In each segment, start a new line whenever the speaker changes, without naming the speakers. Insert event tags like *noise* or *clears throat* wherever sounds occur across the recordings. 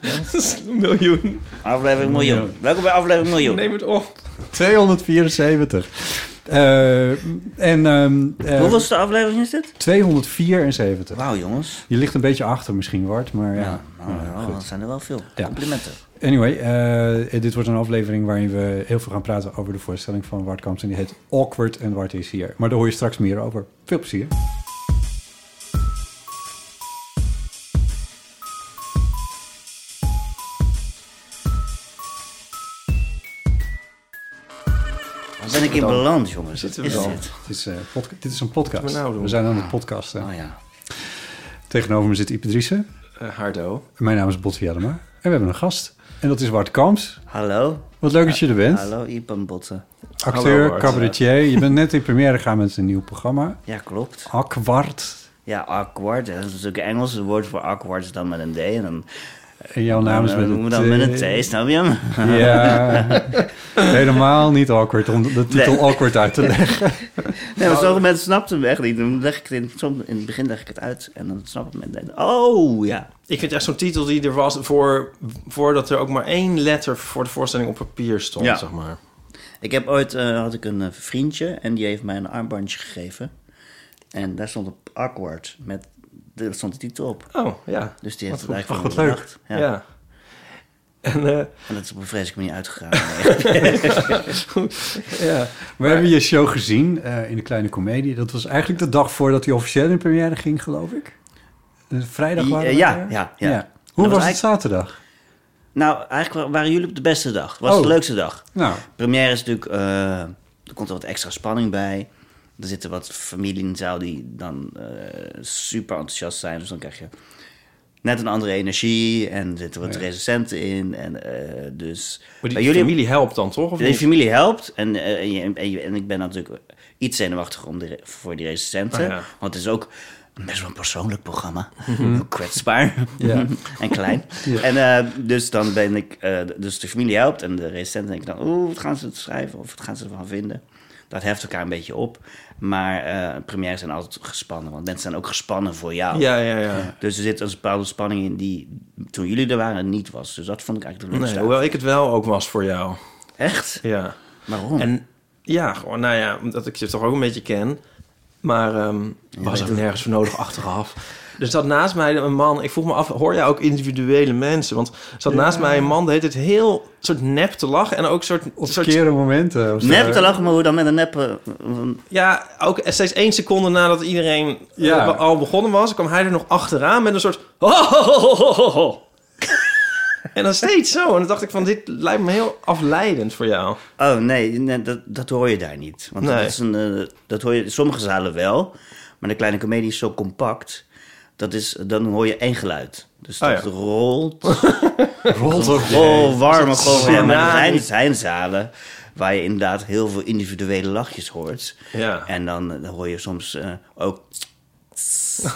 Een miljoen.
Aflevering miljoen. Welkom bij aflevering miljoen.
Neem het op.
274. Eh, en, ehm, eh,
Hoeveelste aflevering is dit?
274.
Wauw, jongens.
Je ligt een beetje achter misschien, Wart, maar ja.
Ja, nou,
Nou,
nou, dat zijn er wel veel.
Ja.
Complimenten.
Anyway, eh, dit wordt een aflevering waarin we heel veel gaan praten over de voorstelling van Wart Kamps. En die heet Awkward en Wart is hier. Maar daar hoor je straks meer over. Veel plezier.
Waar ben ik in balans, jongens? Wat is
Wel,
dit?
Het is, eh, podca- dit is een podcast.
Wat we nou doen? Ah,
we zijn aan het podcasten.
Oh ja.
Tegenover me zit Ipe Driessen.
Eh, hardo.
Mijn naam is Bot Jellema. En we hebben een gast. En dat is Wart Kamps.
Hallo.
Wat leuk dat je er bent.
Hallo, Ipan Botten.
Acteur,
Hallo, Bart.
cabaretier. Je bent net in première gegaan met een nieuw programma.
Ja, klopt.
Akwart.
Ja, awkward. Dat is natuurlijk Engels. Het woord voor awkward is dan met een D. En dan,
En jouw naam is
dan
met
noemen
een
we dan Nou, met een T, *laughs* snap je hem?
Ja,
*laughs*
helemaal niet awkward om de titel
Nee.
awkward uit te leggen.
Nee, maar sommige mensen snapten hem echt niet. Dan leg ik het in, soms, in het begin leg ik het uit en dan snapt men het. Oh, ja.
Ik vind echt zo'n titel die er was voor, voordat er ook maar één letter voor de voorstelling op papier stond,
Ja.
zeg maar.
Ik heb ooit eh, had ik een eh, vriendje en die heeft mij een armbandje gegeven. En daar stond op awkward met daar stond de titel op.
Oh, ja.
Dus die heeft
Wat
het
goed.
eigenlijk
Wat
van
leuk.
bedacht. Ja.
Ja. En, eh,
En dat is op een vreselijke manier uitgegaan. *laughs* Nee.
Ja. We hebben je show gezien eh, in de Kleine Comedie. Dat was eigenlijk de dag voordat hij officieel in première ging, geloof ik. Eh, Vrijdag
I-
waren we
ja,
er.
ja, ja. Dat
Hoe
was
was, het
eigenlijk-
zaterdag?
nou, eigenlijk wa- waren jullie op de beste dag. Het was
Oh.
de leukste dag.
Nou,
Première is natuurlijk, eh, er komt er wat extra spanning bij. Er zitten wat familie in de zaal die dan eh, super enthousiast zijn. Dus dan krijg je net een andere energie en er zitten wat recensenten in. En, eh, dus
maar die
bij jullie-
familie helpt dan toch? Of
De
niet?
familie helpt. En, eh, en, je- en, je- en ik ben natuurlijk iets zenuwachtig om de, re- voor die recensenten.
Ah, ja. Mhm.
Want het is ook best wel een persoonlijk programma. Heel kwetsbaar.
Ja.
*laughs* en
*laughs*
klein. En eh, dus dan ben ik... eh, dus de familie helpt en de recensenten denk ik dan... Oeh, wat gaan ze het schrijven? Of wat gaan ze ervan vinden? Dat heft elkaar een beetje op. Maar eh premières zijn altijd gespannen. Want mensen zijn ook gespannen voor jou.
Ja, ja, ja.
Dus er zit een bepaalde spanning in die toen jullie er waren niet was. Dus dat vond ik eigenlijk de
Nee,
leukste.
hoewel ik het wel ook was voor jou.
Echt?
Ja.
Waarom?
En ja, gewoon, nou ja, omdat ik je toch ook een beetje ken. Maar ehm was ook nergens voor nodig achteraf. Er zat naast mij een man. Ik vroeg me af, hoor jij ook individuele mensen? Want er zat naast mij een man, die het heel soort nep te lachen. En ook soort...
op
soort
verkeerde momenten. of zo.
Nep eh, te lachen, maar hoe dan met een neppe...
ja, ook steeds één seconde nadat iedereen
Ja.
eh, al begonnen was... kwam hij er nog achteraan met een soort... *laughs* "Hohohohoho." en dan steeds zo. En dan dacht ik van, dit lijkt me heel afleidend voor jou.
Oh nee, nee, dat, dat hoor je daar niet. Want
Nee.
dat, is een, eh, dat hoor je in sommige zalen wel. Maar de kleine comedie is zo compact. Dat is, dan hoor je één geluid. Dus
Oh,
dat
ja. *laughs*
rolt.
Rolt ook.
Oh, warme golven. Ja, maar er
tsunami?
zijn, zijn zalen waar je inderdaad heel veel individuele lachjes hoort.
*laughs* Ja.
En dan, eh, dan hoor je soms eh,
*laughs*
ook...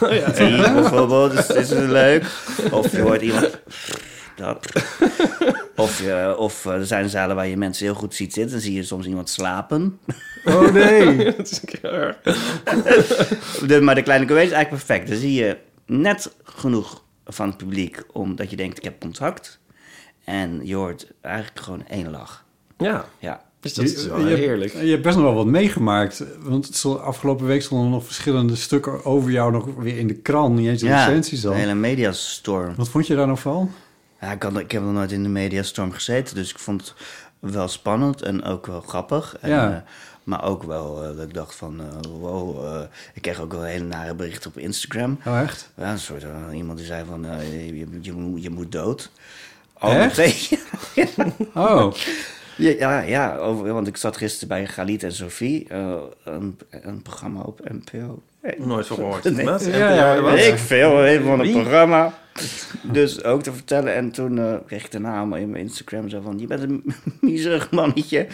ja, ja.
Zie je bijvoorbeeld, dus dit is leuk. Of je hoort iemand... Dat. Of, je- of eh, er zijn zalen waar je mensen heel goed ziet zitten. Dan zie je soms iemand slapen.
Oh
*laughs*
nee.
Dat is een keer erg.
De, maar de kleine comedie is eigenlijk perfect. Dan zie je net genoeg van het publiek omdat je denkt, ik heb contact. En je hoort eigenlijk gewoon één lach.
Ja.
Ja.
Dus dat is wel
hebt-
heerlijk.
Je hebt best nog wel wat meegemaakt. Want het stond- afgelopen week stonden nog verschillende stukken over jou nog weer in de krant. Niet eens in
Ja,
recensies
een
al.
hele mediastorm.
Wat vond je daar nou van?
Ja, ik, had, ik heb nog nooit in de mediastorm gezeten, dus ik vond het wel spannend en ook wel grappig. En,
Ja.
eh, maar ook wel eh, dat ik dacht van, eh, wow, eh, ik kreeg ook wel hele nare berichten op Instagram.
Oh,
*laughs*
echt?
Ja, een soort eh, iemand die zei van, eh, je, je, je moet- je moet dood. Oh, *laughs*
Echt?
meteen.
Oh,
Ja, ja, ja over, want ik zat gisteren bij Galit en Sophie, eh, een, een programma op NPO.
Nooit verhoord.
Nee.
Wat?
Ja, ja,
NPO,
Wat?
Weet Ik veel, een van een
Wie?
programma. Dus ook te vertellen. En toen eh, kreeg ik daarna allemaal in mijn Instagram zo van... Je bent een *laughs* miserig mannetje.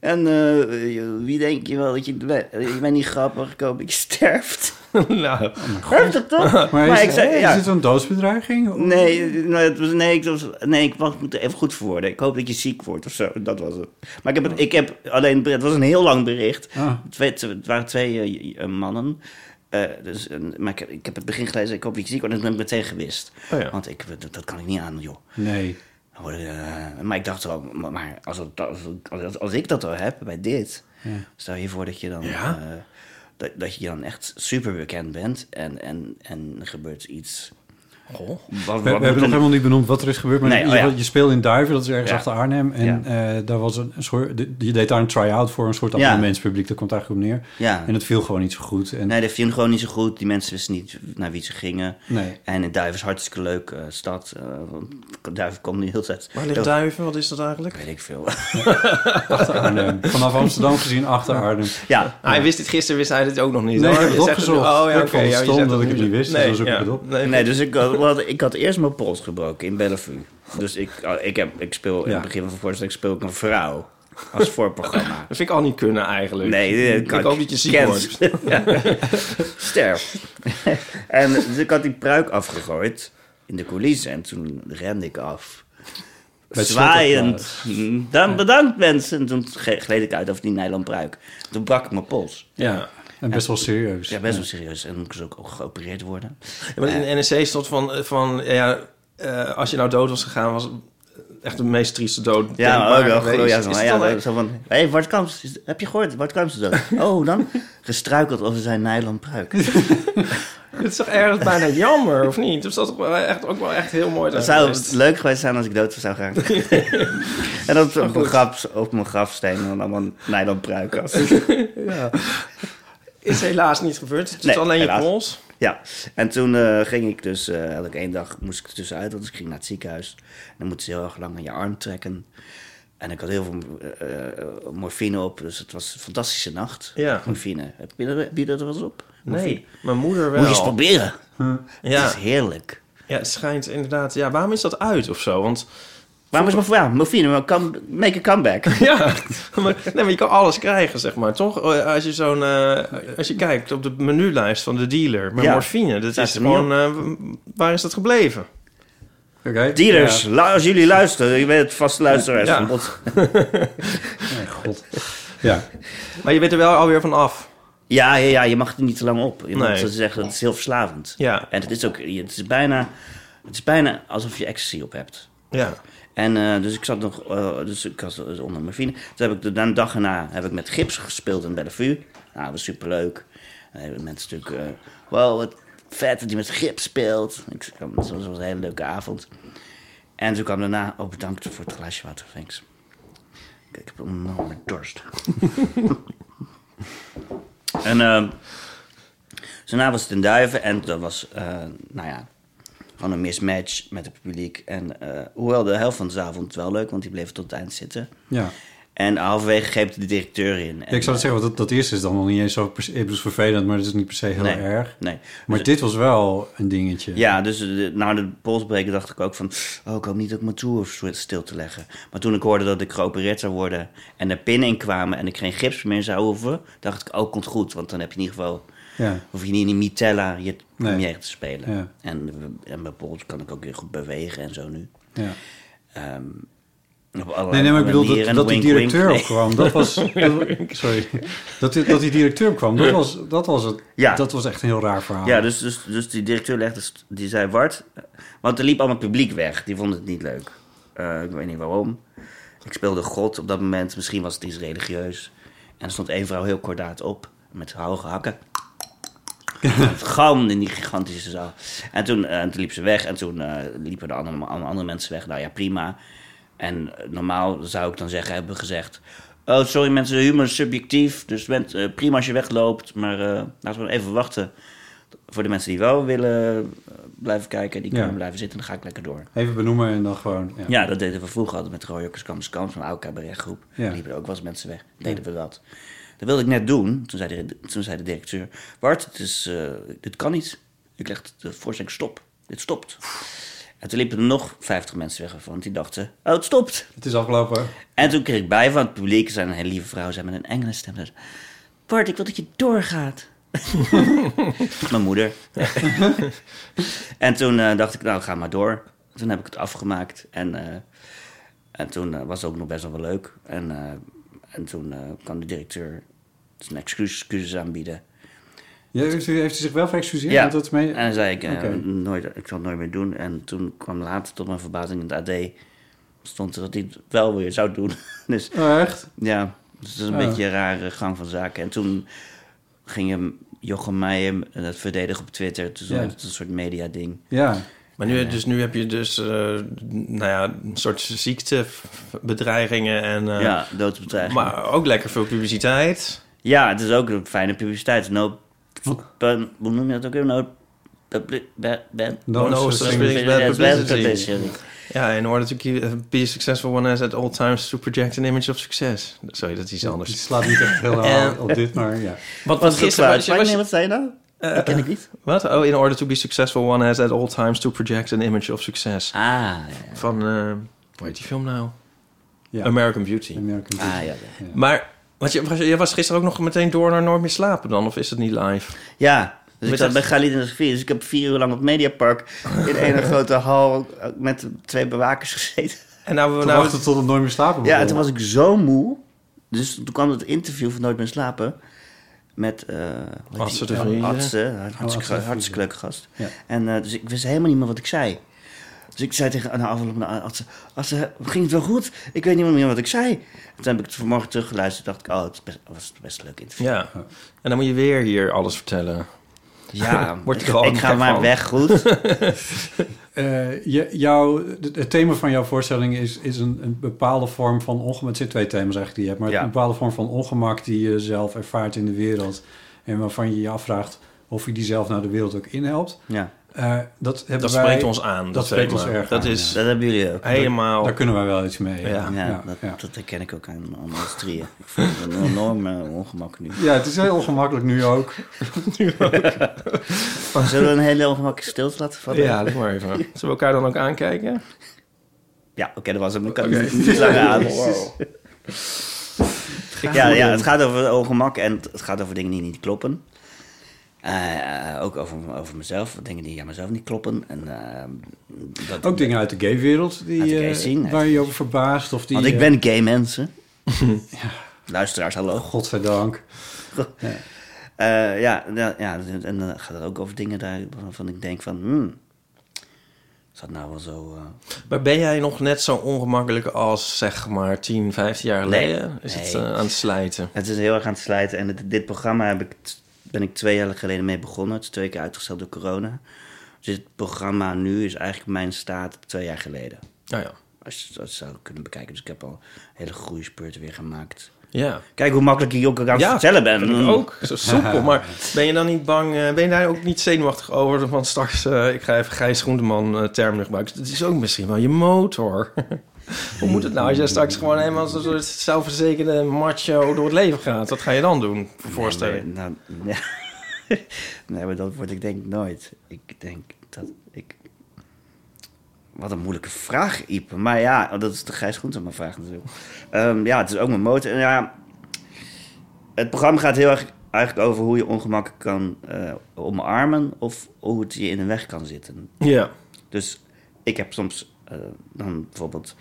En eh, je- wie denk je wel dat je... bent? Je bent niet grappig, ik hoop dat je sterft.
*laughs* nou,
Echt het toch? Maar,
*laughs* maar, is,
ik zei...
is
Ja,
het een doodsbedreiging? Of-
nee, nou, het was, nee, ik was, nee, ik wacht, ik moet er even goed voor worden. Ik hoop dat je ziek wordt of zo. Dat was het. Maar ik heb, het- ik heb alleen... Het was een heel lang bericht.
Ah,
Twee, twee- het waren twee eh, eh, mannen. Eh, dus, eh, maar ik, heb- ik heb het begin gelezen, ik hoop dat je ziek wordt. En toen ben ik meteen gewist.
Oh ja.
Want ik, dat, dat kan ik niet aan, joh.
nee.
Dan word ik, eh, maar ik dacht wel, maar, maar als, het- als, als, als ik dat al heb bij dit... Stel je voor dat je dan...
Ja.
eh, dat, dat je dan echt super bekend bent en, en, en er gebeurt iets.
goh.
Wat,
Oh. We,
wat
we
moet
hebben nog
een-
helemaal niet benoemd wat er is gebeurd. Maar
Nee,
je,
oh ja.
je speelde in Duiven, dat is ergens
Ja.
achter Arnhem. En eh, daar was een soort, de- je deed daar een try-out voor, een soort
Ja.
abonnementspubliek. Daar komt het eigenlijk op neer.
Ja.
En het viel gewoon niet zo goed. En,
Nee, dat viel gewoon niet zo goed. Die mensen wisten niet naar wie ze gingen.
Nee.
En in Duiven is een hartstikke leuk eh, stad. eh, want Duiven komt nu heel tijd.
Waar ligt duiven? Wat is dat eigenlijk?
Weet ik veel. *laughs*
achter Arnhem. Vanaf Amsterdam gezien achter Arnhem.
ja,
Ah, hij wist dit gisteren, wist hij dit ook nog niet.
Nee,
hoor.
ik heb
Je
het
zegt het nu-
opgezocht.
Oh ja,
Ik
oké.
vond het
ja, je
stom
zegt
dat ik het
nu.
niet wist, dus dan zoek ik het op.
Nee,
Nee, dus ik had, wat- ik had eerst mijn pols gebroken in Bellevue. Dus ik, ah, ik, heb, ik speel in
Ja.
het begin van de voorstelling speel ik een vrouw als voorprogramma.
Dat vind ik al niet kunnen eigenlijk.
Nee, eh,
ik hoop dat je ziek
kent.
wordt.
*laughs* Ja. Sterf. en dus ik had die pruik afgegooid in de coulissen en toen rende ik af.
Met
Zwaaiend. Dan bedankt mensen. En toen ge- gleed ik uit over die nylon pruik. Toen brak ik mijn pols.
Ja.
En best wel serieus.
Ja, best wel serieus. En moest dus ook ook geopereerd worden.
Ja, maar in de E NEC stond van, van ja, eh, als je nou dood was gegaan, was echt de meest trieste dood.
Ja,
denkbaar
maar ook wel
geweest.
goed. Ja,
Is
zo,
het
ja,
dan
zo-
echt-
zo van, hé, hey, Bart Kamps, is- heb je gehoord? Bart Kamps is
*laughs*
dood. Oh, dan gestruikeld over zijn nylon pruik.
Het is toch ergens
*laughs*
bijna jammer, of niet? Dus dat is toch wel echt, ook wel echt heel mooi.
Dat
daar
zou
geweest.
leuk geweest zijn als ik dood zou
*laughs*
gaan. en dat op mijn, graf, op mijn grafsteen dan allemaal nylon pruik.
Is helaas niet gebeurd. Het is
Nee,
alleen
helaas.
je pols.
*laughs* Ja, en toen eh, ging ik dus, eh elke één dag moest ik er tussenuit, want ik ging naar het ziekenhuis. En dan moeten ze heel erg lang aan je arm trekken. En ik had heel veel eh, eh, morfine op, dus het was een fantastische nacht.
Ja.
Morfine. Heb je, er- heb je dat er wel eens op? Morfine.
Nee, mijn moeder wel.
Moet je eens proberen.
Ja,
Het is heerlijk.
ja, het schijnt inderdaad. Ja, waarom is dat uit of zo? Want *laughs*
Waarom is mijn vraag? Morfine, maar come- make a comeback.
Ja, maar, nee, maar je kan alles krijgen, zeg maar, toch? Eh, Als je zo'n, eh, als je kijkt op de menulijst van de dealer, maar
Ja.
morfine, dat
Staat
is
er niet
gewoon, eh, waar is dat gebleven?
Oké.
Dealers,
Ja.
lu- als jullie luisteren, ik ben het vaste luisteraars.
Ja.
van ons.
Nee, god. Ja.
Maar je bent er wel alweer van af.
Ja, ja, ja, je mag er niet te lang op. Je moet
Nee.
zo zeggen, het is heel verslavend.
Ja.
En het is ook, het is bijna, het is bijna alsof je ecstasy op hebt.
Ja,
En eh, dus ik zat nog, eh, dus ik was eh, onder morfine. Toen heb ik de de dag erna heb ik met gips gespeeld in Bellevue. Nou, dat was superleuk. En hebben mensen natuurlijk, eh wow, wat vet dat hij met gips speelt. Ik, zei, "Ja, dat was een hele leuke avond. En toen kwam daarna, oh bedankt voor het glaasje water, thanks. Ik, ik heb een enorme dorst. *laughs* en ehm dus daarna was het in Duiven en dat was, eh, nou ja, gewoon een mismatch met het publiek. En eh, hoewel de helft van de zaal vond het wel leuk, want die bleef tot het eind zitten.
ja.
En halverwege greep de directeur in. En,
ik zou het zeggen, want dat, dat eerste is dan nog niet eens zo per se, ik bedoel, het is vervelend, maar dat is niet per se heel
nee,
erg.
Nee. Dus-
Maar dit was wel een dingetje.
Ja, dus eh, na de polsbreken dacht ik ook van... oh, ik hoop niet dat ik mijn tour hoef stil te leggen. Maar toen ik hoorde dat ik geopereerd zou worden... en er pinnen in kwamen en ik geen gips meer zou hoeven... dacht ik, oh, komt goed. Want dan heb je in ieder geval...
Ja.
hoef je niet in Mitella je
Nee.
première te spelen.
Ja.
En, eh, en mijn pols kan ik ook weer goed bewegen en zo nu.
Ja.
Ehm, op
Nee,
allerlei
nee, maar ik bedoel
manieren.
dat, dat die
Wink, wink.
directeur
Nee.
kwam. Dat
*laughs*
was. sorry. Dat, die- dat die directeur kwam. Dat was, dat was het.
Ja.
Dat was echt een heel raar verhaal.
Ja, dus, dus, dus die directeur legde, st- die zei Wart, want er liep allemaal publiek weg. Die vond het niet leuk. Eh, ik weet niet waarom. Ik speelde God op dat moment. Misschien was het iets religieus. En er stond één vrouw heel kordaat op. Met hoge hakken. *laughs* Gam in die gigantische zaal. En toen, eh, toen liep ze weg. En toen eh, liepen de andere, alle andere mensen weg. Nou ja, prima. En eh, normaal zou ik dan zeggen, hebben gezegd... Oh, sorry mensen, humor is subjectief. Dus bent, eh, prima als je wegloopt. Maar eh, laten we even wachten. Voor de mensen die wel willen eh, blijven kijken... die
Ja.
kunnen blijven zitten. Dan ga ik lekker door.
Even benoemen en dan gewoon... Ja.
Ja, dat deden we vroeger altijd met de Rode Jokkers Kamers Kamers, een oude cabaretgroep.
Ja.
Ja. liepen er ook wel eens mensen weg. Deden we dat. Dat wilde ik net doen. Toen zei de, toen zei de directeur, Bart, het is, eh, dit kan niet. Ik leg de voorstelling stop. Dit stopt. En toen liepen er nog 50 mensen weg, want die dachten, oh, het stopt.
Het is afgelopen.
En toen kreeg ik bij van het publiek, zijn een hele lieve vrouw, zei met een engele stem. zei ze, Bart, ik wil dat je doorgaat. Mijn moeder. en toen eh, dacht ik, nou, ga maar door. Toen heb ik het afgemaakt. En, eh, en toen eh, was het ook nog best wel wel leuk. En, eh, en toen eh, kwam de directeur zijn excuses, excuses aanbieden.
Ja, heeft, u- heeft u zich wel verexcuseerd?
Ja.
Want Dat is mee...
En dan zei ik, eh,
Oké.
nooit, ik zal het nooit meer doen. En toen kwam later tot mijn verbazing in het AD... stond er dat hij het wel weer zou doen. *laughs* dus
Oh, echt?
ja, dus dat is een
Ja.
beetje een rare gang van zaken. En toen ging hem Jochem Meijer eh, dat verdedigen op Twitter. Toen
Ja.
werd het een soort media-ding.
Ja.
Maar nu, dus, nu heb je dus eh, nou ja, een soort ziektebedreigingen. En, eh,
ja, doodsbedreiging.
Maar ook lekker veel publiciteit.
Ja, het is ook een fijne publiciteit. No, hoe noem je dat ook weer? No, publi- be- be-
No
No
such
such
thing.
thing as bad
bad
publicity.
publicity.
Ja, in order to keep, eh, be successful one has at all times to project an image of success. Sorry, dat is iets
Het
anders.
slaat niet echt
*laughs*
heel hard
En-
op dit, maar ja.
Wat
Wat is het
gisteren
kwaad?
was,
Nee,
je- was je-
Wat zei je nou?
eh,
Dat ken ik niet.
Wat? Oh, in order to be successful one has at all times to project an image of success.
Ah, ja.
Van, eh hoe heet die film nou?
ja.
American Beauty.
American
Ah, ja,
Beauty.
*laughs* ja.
Maar, want je, was, je was gisteren ook nog meteen door naar Nooit meer slapen dan? Of is het niet live?
Ja, dus ik
Met
zat
dat-
bij Galit in het gevier. Dus ik heb vier uur lang op Mediapark in *laughs* een grote hal eh, met twee bewakers gezeten.
En nou, we
Te
nou,
wachten tot het nooit meer slapen
Oh,
Ja, en
begon.
toen was ik zo moe. Dus toen kwam het interview van Nooit meer slapen. Met eh
Adse de Vries, hè? Oh,
Adse, hartstikke,
Adse de
hartstikke leuke gast.
Ja.
En eh, dus ik wist helemaal niet meer wat ik zei. Dus ik zei tegen na afloop naar Adse, Adse, ging het wel goed? Ik weet niet meer wat ik zei. Toen heb ik het vanmorgen teruggeluisterd. dacht ik, oh, het is best- was best een leuk interview.
ja. En dan moet je weer hier alles vertellen.
Ja,
*laughs* Wordt
ik,
er gewoon
ik ga
gek
maar
van.
weg, goed.
*laughs*
Eh, je- jouw, het het thema van jouw voorstelling is, is een, een bepaalde vorm van ongemak. Het zijn twee thema's eigenlijk die je hebt, maar
Ja.
een bepaalde vorm van ongemak die je zelf ervaart in de wereld. En waarvan je je afvraagt of je die zelf naar de wereld ook inhelpt.
ja,
Eh, dat hebben
Dat
wij,
spreekt ons aan.
dat spreekt ons
thema.
erg
Dat
aan,
is
dat hebben jullie ook.
helemaal...
Daar kunnen wij wel iets mee.
Ja.
Ja,
ja,
dat,
ja.
dat herken ik ook aan, aan ons drieën. Ik voel een enorm eh, ongemak nu.
Ja, het is heel ongemakkelijk nu ook.
Oh, Zullen we een hele ongemakkelijke stilte laten vallen?
Ja, doe maar even. *laughs* Zullen we elkaar dan ook aankijken?
Ja, oké, dat was hem. Ik kan het niet niet langer aan. Ja, ja, het gaat over ongemak en het gaat over dingen die niet kloppen. Eh, ook over, over mezelf, dingen die aan mezelf niet kloppen. En, eh, dat,
Ook dingen uit de gaywereld die,
Uit de
eh,
gayscene.
waar je je over verbaast. Of die,
want ik
eh,
ben gay
*laughs*
mensen. Luisteraars, hallo.
Godverdank.
Eh, ja, ja, ja, en dan gaat het ook over dingen daar waarvan ik denk van... Hmm, is dat nou wel zo... eh,
Maar ben jij nog net zo ongemakkelijk als zeg maar 10, 15 jaar
Nee.
geleden? Is het
Nee.
eh, aan het slijten?
Het is heel erg aan het slijten. En het- dit programma heb ik, t- ben ik twee jaar geleden mee begonnen. Het is twee keer uitgesteld door corona. Dus dit programma nu is eigenlijk mijn staat twee jaar geleden.
Nou ja.
Als je dat zou kunnen bekijken. Dus ik heb al een hele groeispurt weer gemaakt.
Ja.
Kijk hoe makkelijk ik ook aan het
Ja,
vertellen ben.
vind ik
Mm.
ook. Zo soepel. Maar *laughs* ben je dan niet bang, eh, ben je daar ook niet zenuwachtig over? Want straks, eh, ik ga even Gijs Groenteman eh, termen gebruiken. Dat is ook misschien wel je motor. *laughs* Hoe moet het nou als jij straks gewoon helemaal als een soort zelfverzekerde macho door het leven gaat? Wat ga je dan doen, voorstellen?
Nee, nou, nee. *laughs* nee, maar dat word ik denk ik nooit. Ik denk dat ik... Wat een moeilijke vraag, Ipe. Maar ja, oh, dat is de Gijs Groenteman vraag natuurlijk. Ehm, ja, het is ook mijn motor. En ja, het programma gaat heel erg eigenlijk over hoe je ongemak kan eh, omarmen... of hoe het je in de weg kan zitten.
Ja.
Dus ik heb soms eh, dan bijvoorbeeld...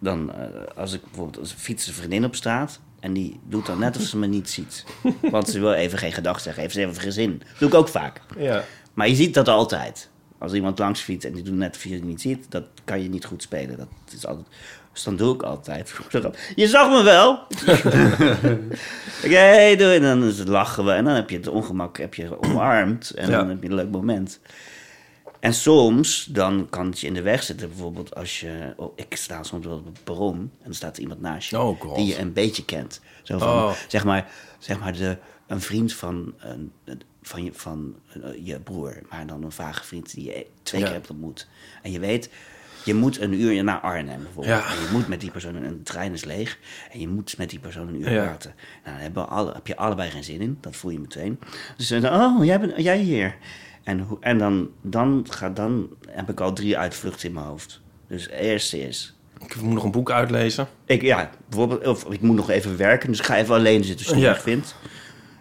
Dan, eh, als ik bijvoorbeeld als fiets een vriendin op straat... en die doet dan net of ze me niet ziet. Want ze wil even geen gedag zeggen, even, even geen zin. Dat doe ik ook vaak.
ja.
Maar je ziet dat altijd. Als iemand langs fietst en die doet net of je het niet ziet, dat kan je niet goed spelen. Dat is altijd... Dus dan doe ik altijd. *laughs* Je zag me
*laughs*
wel! Oké, hey, doei. En dan is het lachen we. En dan heb je het ongemak heb je omarmd. En
Ja.
dan heb je een leuk moment. En soms, dan kan het je in de weg zitten. Bijvoorbeeld als je... oh, ik sta soms wel op het perron. En dan staat er iemand naast je.
Oh, God.
Die je een beetje kent. Zo van,
Oh.
zeg maar, zeg maar de, een vriend van, een, van, je, van eh, je broer. Maar dan een vage vriend die je twee
Ja.
keer hebt ontmoet. En je weet... Je moet een uur naar Arnhem bijvoorbeeld.
Ja.
En je moet met die persoon, en de trein is leeg. En je moet met die persoon een uur
Ja.
praten. Nou, daar hebben we alle, heb je allebei geen zin in. Dat voel je meteen. Dus ze zeggen, oh, jij, bent, jij hier. En, hoe- en dan, dan, ga, dan heb ik al drie uitvluchten in mijn hoofd. Dus eerst is...
Ik moet nog een boek uitlezen.
Ik, ja, bijvoorbeeld, of ik moet nog even werken. Dus ik ga even alleen zitten als je
Ja.
het vind.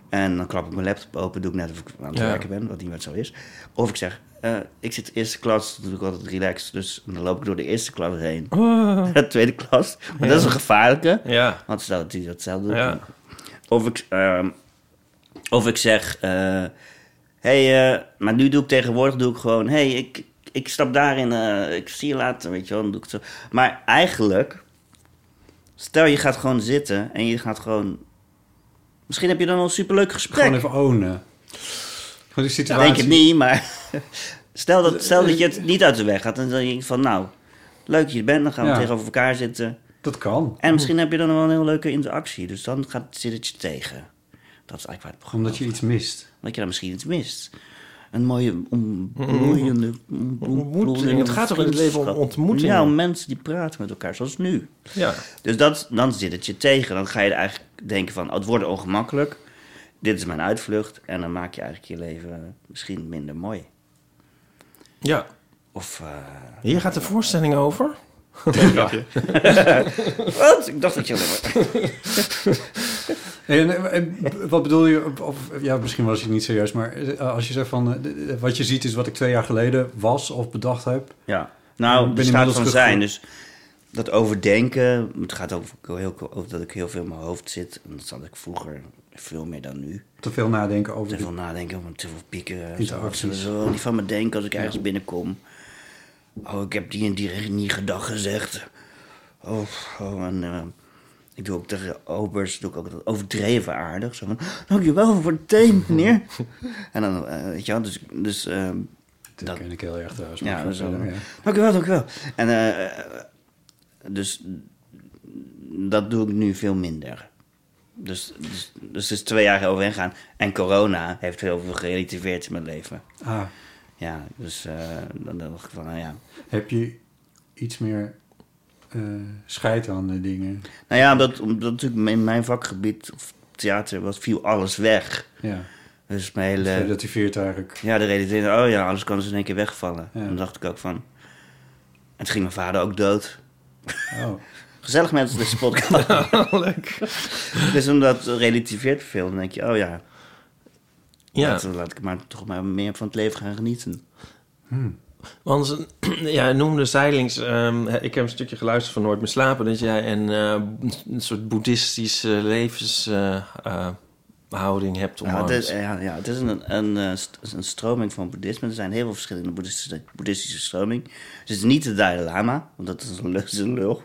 En dan klap ik mijn laptop open, doe ik net of ik aan het
Ja.
werken ben, wat niet meer zo is. Of ik zeg, eh, ik zit eerste klas, dat doe ik altijd relaxed. Dus dan loop ik door de eerste klas heen. *laughs*
Ah.
De tweede klas. Maar dat is een gevaarlijke.
Oh. Ja.
Want stel dat hij datzelfde doet.
Ja.
Of, ik, ehm, of ik zeg... eh, hey, eh, maar nu doe ik tegenwoordig doe ik gewoon... hey, ik, ik stap daarin. eh, ik zie je later, weet je wel. Dan doe ik het zo. Maar eigenlijk... Stel, je gaat gewoon zitten en je gaat gewoon... Misschien heb je dan al een superleuk gesprek.
Gewoon even ownen. Gewoon die
Dat
situatie.
denk ik niet, maar... *laughs* stel, dat, stel dat je het niet uit de weg gaat. En dan denk je van, nou... Leuk dat je er bent, dan gaan we
Ja.
tegenover elkaar zitten.
Dat kan.
Mm.
En misschien heb je dan wel een heel leuke interactie. Dus dan gaat, zit het je tegen. Dat is eigenlijk waar het programma
Omdat je iets mist.
dat je dan misschien iets mist. Een mooie ontmoeiende...
Ontmoeting. Het gaat toch in het leven om ontmoetingen?
Ja, om mensen die praten met elkaar, zoals nu.
Ja.
Dus dat, dan zit het je tegen. Dan ga je er eigenlijk denken van, oh, het wordt ongemakkelijk. Dit is mijn uitvlucht. En dan maak je eigenlijk je leven misschien minder mooi.
ja.
Of... eh, *laughs*
Hier gaat de voorstelling over. *laughs*
wat? Ik dacht dat je... alleen maar-
En, eh, en wat bedoel je, of- of, ja, misschien was je niet serieus, maar eh, als je zegt van eh, d- d- wat je ziet is wat ik twee jaar geleden was of bedacht heb.
Ja.
Ik
Nou,
ben
het staat
inmiddels
van
terug-
zijn. Dus dat overdenken, het gaat ook heel, over dat ik heel veel in mijn hoofd zit. En dat zat ik vroeger veel meer dan nu.
Te veel nadenken over
Te
die-
veel nadenken, om te veel pieken.
Interacties.
Zo, zo, niet van me denken als ik ergens binnenkom. Oh, ik heb die en die niet gedag gezegd. Oh, oh, en eh, ik doe ook tegen obers, doe ik ook dat overdreven aardig. Zo van, dankjewel voor het thee,
*laughs*
meneer. en dan, eh, weet je wel, dus... dus eh,
Dat,
dat-
ken ik heel erg trouwens.
ja,
maar eh,
dat is wel.
verder, ja.
Dankjewel, dankjewel. En eh, eh, dus dat doe ik nu veel minder. Dus, dus, dus het is twee jaar overheen gaan. En corona heeft heel veel gerelativeerd in mijn leven.
Ah,
Ja, dus eh, dan dacht ik van, nou ja.
heb je iets meer eh scheid aan de dingen?
Nou ja, omdat, omdat natuurlijk in mijn vakgebied, of theater, was, viel alles weg.
Ja,
Dus mijn
dat
hele...
relativeert eigenlijk.
Ja, de realiseerde, oh ja, alles kan dus in één keer wegvallen.
Ja.
En dan dacht ik ook van... En toen ging mijn vader ook dood.
Oh,
Gezellig mensen, deze
*laughs*
podcast.
Leuk.
Dus omdat het relativeert veel, dan denk je, oh ja,
Ja.
laat, laat ik maar toch maar meer van het leven gaan genieten.
Want ze- *clears throat* ja, hij noemde zijlings, ehm, ik heb een stukje geluisterd van Nooit meer slapen, dat jij een, eh, een soort boeddhistische levenshouding hebt
Ja,
omarmd.
het is, ja, ja, het is een, een, eh, st- een stroming van boeddhisme. Er zijn heel veel verschillende boeddhistische, boeddhistische stromingen. Dus het is niet de Dalai Lama, want dat is een, *laughs* lul- is een lul.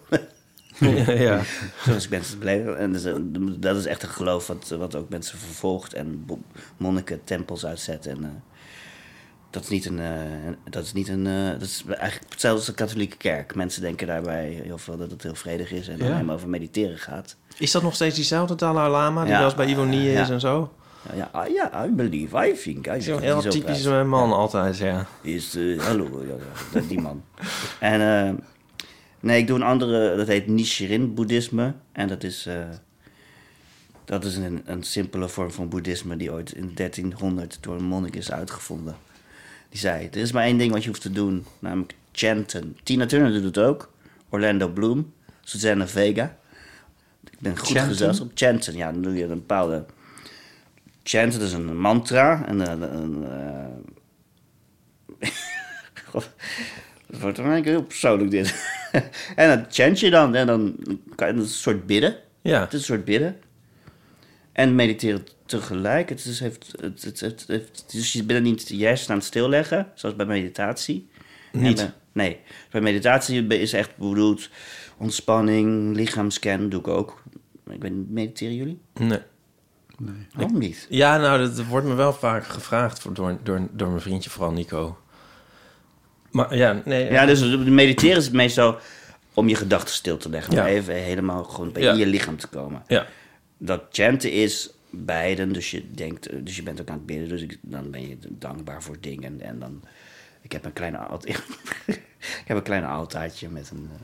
*laughs* ja, ja.
Zoals ik mensen beleven. En dus, eh, dat is echt een geloof wat, eh, wat ook mensen vervolgt en bo- monniken tempels uitzet. En, eh, dat is niet een. eh, dat is niet een. eh, dat is eigenlijk hetzelfde als de katholieke kerk. Mensen denken daarbij heel veel dat het heel vredig is en dan
Ja.
helemaal over mediteren gaat.
Is dat nog steeds diezelfde Dalai Lama die
Ja,
wel eens bij Ivonie
eh,
is
ja.
en zo?
Ja, ja, I- ja, I believe, I think. I
Dat is een
think
heel
die zo
typisch
praat.
man altijd, ja.
Is, eh, hallo, ja, ja, dat- die man. En eh, nee, ik doe een andere, dat heet Nichiren boeddhisme. En dat is, eh, dat is een, een simpele vorm van boeddhisme die ooit in 1300 door een monnik is uitgevonden. Die zei, er is maar één ding wat je hoeft te doen, namelijk chanten. Tina Turner doet het ook, Orlando Bloom, Susanna Vega. Ik ben goed
Chanten?
gezelschap. Chanten, ja, dan doe je een bepaalde... Chant, dat is een mantra. En een, een, eh, God, het wordt dan eigenlijk heel persoonlijk dit. *laughs* en dan chant je dan. En dan kan je dat is een soort bidden.
Ja,
Het is een soort bidden. en mediteren tegelijk. Het, is, heeft, het, het, het, het- dus je bent niet je hersenen aan het stilleggen, zoals bij meditatie.
Niet.
En bij- nee. Bij meditatie is echt bedoeld ontspanning, lichaamscan, doe ik ook. Ik weet niet, mediteren jullie?
Nee.
Waarom niet?
Ja, nou, dat wordt me wel vaak gevraagd voor- door, door, door mijn vriendje, vooral Nico. Maar ja, nee.
Ja, dus mediteren is meestal om je gedachten stil te leggen.
Ja.
Maar even helemaal gewoon bij
Ja.
je lichaam te komen.
ja.
Dat chanten is beiden, dus je, denkt, eh, dus je bent ook aan het bidden. Dus ik- dan ben je dankbaar voor dingen. En dan, *laughs* ik heb een kleine alt- ik heb een klein altaartje met een... eh,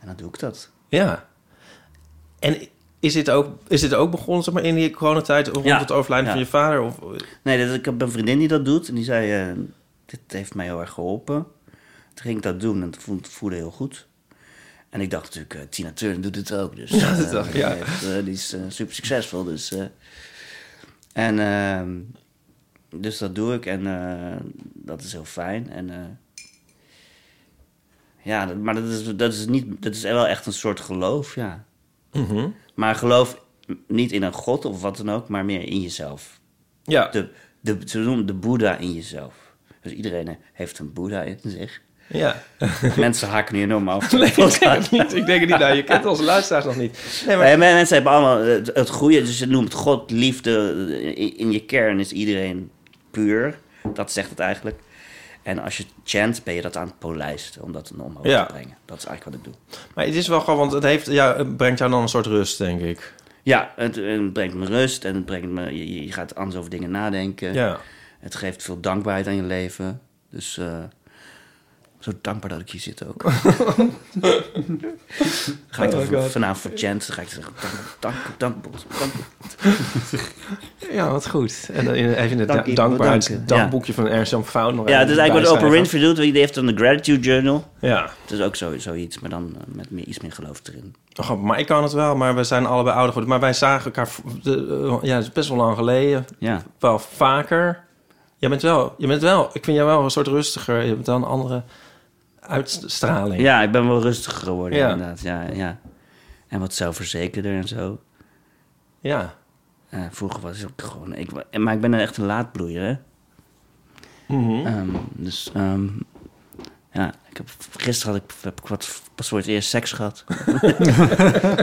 en dan doe ik dat.
Ja. En is dit ook, is dit ook begonnen zeg maar, in die coronatijd rond
Ja.
het overlijden
Ja.
van je vader? Of,
Nee, dat, ik heb een vriendin die dat doet. En die zei, eh, dit heeft mij heel erg geholpen. Toen ging ik dat doen en het voelde, voelde heel goed. En ik dacht natuurlijk, eh, Tina Turner doet het ook. Dus,
Ja, *laughs* dat
eh,
dacht ik, ja.
die heeft, eh, die is eh, super succesvol. Dus, eh, en, ehm, dus dat doe ik en eh, dat is heel fijn. En, eh, ja, dat- maar dat is, dat, is niet, dat is wel echt een soort geloof, ja.
Mhm.
Maar geloof niet in een god of wat dan ook, maar meer in jezelf
Ja.
de, de, ze noemen het de Boeddha in jezelf. Dus iedereen eh, heeft een Boeddha in
*laughs*
zich. *laughs*
ja.
Mensen haken nu enorm af.
Nee, ik denk het niet. Ik denk het niet. Nou, je kent onze luisteraars nog niet. Nee, maar,
Eh, men- mensen hebben allemaal het, het goede, dus ze noemen het God, liefde. eh, In, in je kern is iedereen puur. Dat zegt het eigenlijk. En als je chant, ben je dat aan het polijsten om dat omhoog
Ja.
te brengen. Dat is eigenlijk wat ik doe.
maar het is wel gewoon, want het, heeft, ja, het brengt jou dan een soort rust, denk ik.
Ja, het, het brengt me rust en het brengt me, je, je gaat anders over dingen nadenken.
Ja.
Het geeft veel dankbaarheid aan je leven. Dus eh, zo dankbaar dat ik hier zit
*laughs*
ook. ga ik
Oh
dan
God.
vanavond voor chant, ga ik zeggen dank, dank, dank, dank.
Ja, wat goed. En dan in- even in het
Dank
da-
je,
dankbaarheid
bedankt.
dankboekje van Ernst Jan Fout nog
Ja,
even
het is eigenlijk wat Oprah Winfrey
bijschrijven.
doet. want Die heeft dan de Gratitude Journal.
Ja.
Het is ook zo, zoiets, maar dan eh, met meer, iets meer geloof erin.
Oh, grappig, maar ik kan het wel, maar we zijn allebei ouder geworden. Maar wij zagen elkaar, v- de, eh, ja, het is best wel lang geleden,
Ja.
wel vaker. Je bent wel, je bent wel, ik vind jou wel een soort rustiger. Je hebt wel een andere uitstraling.
ja, ik ben wel rustiger geworden
Ja.
inderdaad. Ja, ja. En wat zelfverzekerder en zo.
Ja.
Eh, vroeger was ik gewoon... Ik, wa- maar ik ben echt een laadbloeier, hè.
Mhm.
Ehm, dus ehm, ja, ik heb, gisteren had ik, heb ik wat, pas voor het eerst seks gehad. *laughs*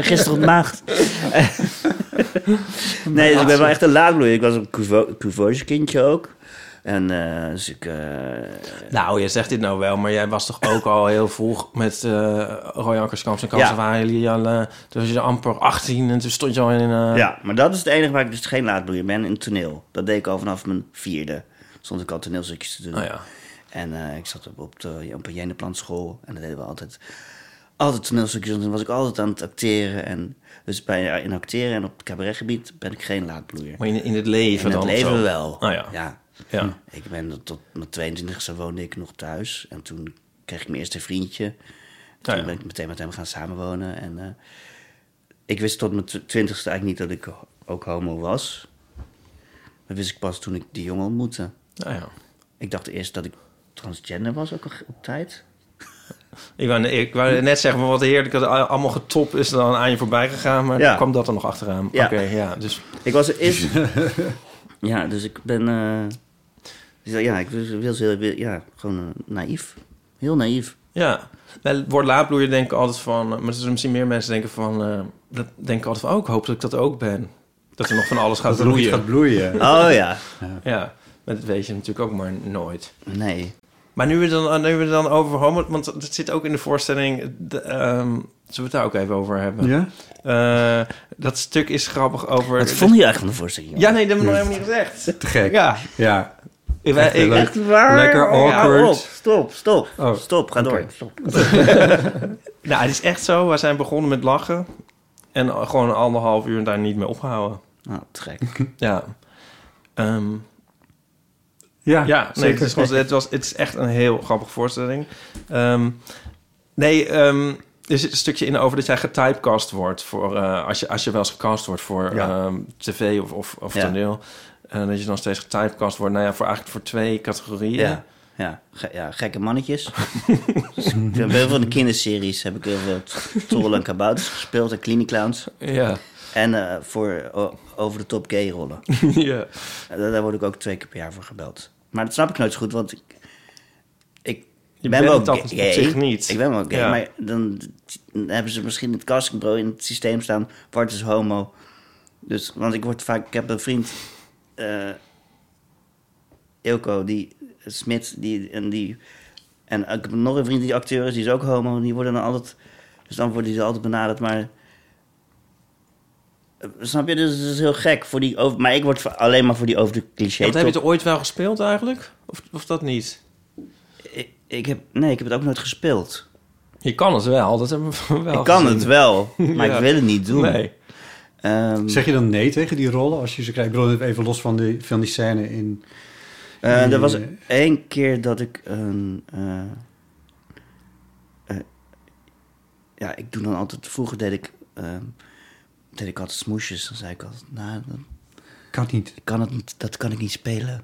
gisteren op maagd. *laughs* nee, dus ik ben wel echt een laadbloeier. Ik was een cuvo- cuvoge kindje ook. En eh, dus ik... eh,
Nou, je zegt dit nou wel, maar jij was toch ook al heel vroeg met eh Roy Ankerskamp en Kansen
Ja.
waren jullie al... eh, toen was je amper 18 en toen stond je al in... eh,
Ja, maar dat is het enige waar ik dus geen laadbloeier ben, in toneel. Dat deed ik al vanaf mijn vierde. Stond ik al toneelstukjes te doen.
Oh ja.
En eh, ik zat op, op, de, op een Jeneplanschool en dat deden we altijd. Altijd toneelstukjes, en toen was ik altijd aan het acteren. En, dus bij, ja, in acteren en op het cabaretgebied ben ik geen laadbloeier.
Maar in, in het leven
In
dan
het
of
leven
zo.
wel.
Oh ja.
ja.
Ja.
Ik ben tot mijn 22e woonde ik nog thuis. En toen kreeg ik mijn eerste vriendje. Toen
Ah, ja.
ben ik meteen met hem gaan samenwonen. En eh, ik wist tot mijn tw- 20e eigenlijk niet dat ik ho- ook homo was. Dat wist ik pas toen ik die jongen ontmoette.
Nou ja.
Ik dacht eerst dat ik transgender was ook op- op tijd.
Ik wou, ik wou net zeggen, maar wat heerlijk dat al- allemaal getop is dan aan je voorbij gegaan. Maar
Ja.
dan kwam dat er nog achteraan.
Ja.
Oké, ja. Dus
Ik was er
*laughs*
eerst... ja, dus ik ben... eh, dus ja, ik was- was heel, ja, gewoon eh, naïef. Heel naïef.
ja. Bij het woord laadbloeier denk ik altijd van... eh, Maar er zijn misschien meer mensen denken van... eh, dat denken altijd van, oh, ik hoop dat ik dat ook ben. Dat er nog van alles gaat
*laughs* Dat er nog iets
bloeien.
gaat
*laughs*
bloeien.
Oh ja.
Ja, maar dat weet je natuurlijk ook maar nooit.
Nee.
Maar nu we dan, eh, nu we dan over homo... Want dat zit ook in de voorstelling... de, ehm, zullen we het daar ook even over hebben?
Ja?
Eh, dat stuk is grappig over...
Wat vond je eigenlijk van de voorstelling?
Ja, nee, dat hebben we nog helemaal niet gezegd.
Te gek.
Ja.
Ja.
Ik,
Echt
ik-
leuk.
Echt waar?
Lekker awkward.
Ja, op, stop, stop,
Oh,
stop, ga door. Stop.
nou, het is echt zo. We zijn begonnen met lachen. En gewoon anderhalf uur daar niet mee ophouden.
Nou,
*laughs*
te gek.
Ja. Ehm,
Ja,
ja, nee, het, is, gewoon- het, was, het is echt een heel grappige voorstelling. Ehm, nee, ehm, er zit een stukje in over dat jij getypecast wordt. Voor, eh, als, je, als je wel eens gecast wordt voor
Ja.
ehm, tv of, of, of
Ja.
toneel. eh, dat je dan steeds getypecast wordt. Nou ja, voor, eigenlijk voor twee categorieën.
Ja, ja, ge- ja gekke
*laughs*
mannetjes. Dus ik heb heel veel in de kinderseries heb ik heel veel t- trollen en kabouters gespeeld en kliniclowns.
Ja.
En eh, voor o- over de top gay rollen.
*laughs* ja.
Eh, daar daar word ik ook twee keer per jaar voor gebeld. Maar dat snap ik nooit zo goed, want ik, ik
Je
ben
bent
wel
dat
gay.
op zich niet.
Ik ben wel gay,
Ja.
maar dan, dan hebben ze misschien het castingbureau in het systeem staan. Bart is homo. Dus, want ik word vaak... Ik heb een vriend, eh Ilko, die Smit, die, en die... En ik heb nog een vriend die acteur is, die is ook homo. En die worden dan altijd... Dus dan worden die altijd benaderd, maar... eh, Snap je? Dus het is heel gek. Voor die over, maar ik word voor- alleen maar voor die over de cliché.
Want heb je
top-
het ooit wel gespeeld eigenlijk? Of, of dat niet?
ik, ik heb, nee, ik heb het ook nooit gespeeld.
Je kan het wel, dat hebben we wel
ik kan
Oh, gezien.
het
*laughs*
wel, maar
Ja.
ik wil het niet doen.
Nee.
Ehm,
Zeg je dan nee tegen die rollen als je ze krijgt? Ik bedoel, even los van die, van die scène in...
eh, er was
eh,
één keer dat ik een... eh, eh, ja, ik doe dan altijd... Vroeger deed ik, ehm, deed ik altijd smoesjes. Dan zei ik altijd, nou, dat
Kan niet.
kan, het, niet- dat kan ik niet spelen.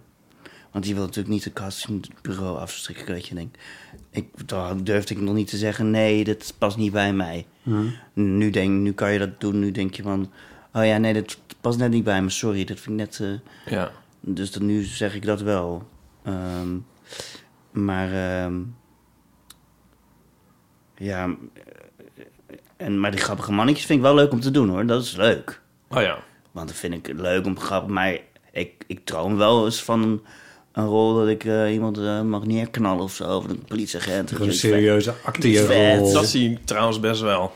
Want die wil natuurlijk niet het castingbureau afstrikken, weet je. En Ik, ik, toen durfde ik nog niet te zeggen, nee, dat past niet bij mij.
Hm?
Nu, denk, nu kan je dat doen, nu denk je van... Oh ja, nee, dat past net niet bij me, sorry. Dat vind ik net... eh,
Ja.
dus dan, nu zeg ik dat wel. Ehm, maar... ehm, ja... eh, En, maar die grappige mannetjes vind ik wel leuk om te doen, hoor. Dat is leuk.
Oh ja.
Want dat vind ik leuk om grappig... Maar ik, ik droom wel eens van een, een rol dat ik eh, iemand eh, mag neerknallen of zo. Of een politieagent.
Gewoon een
Iets vet.
serieuze acteerrol.
Vet.
Dat zie ik trouwens best wel.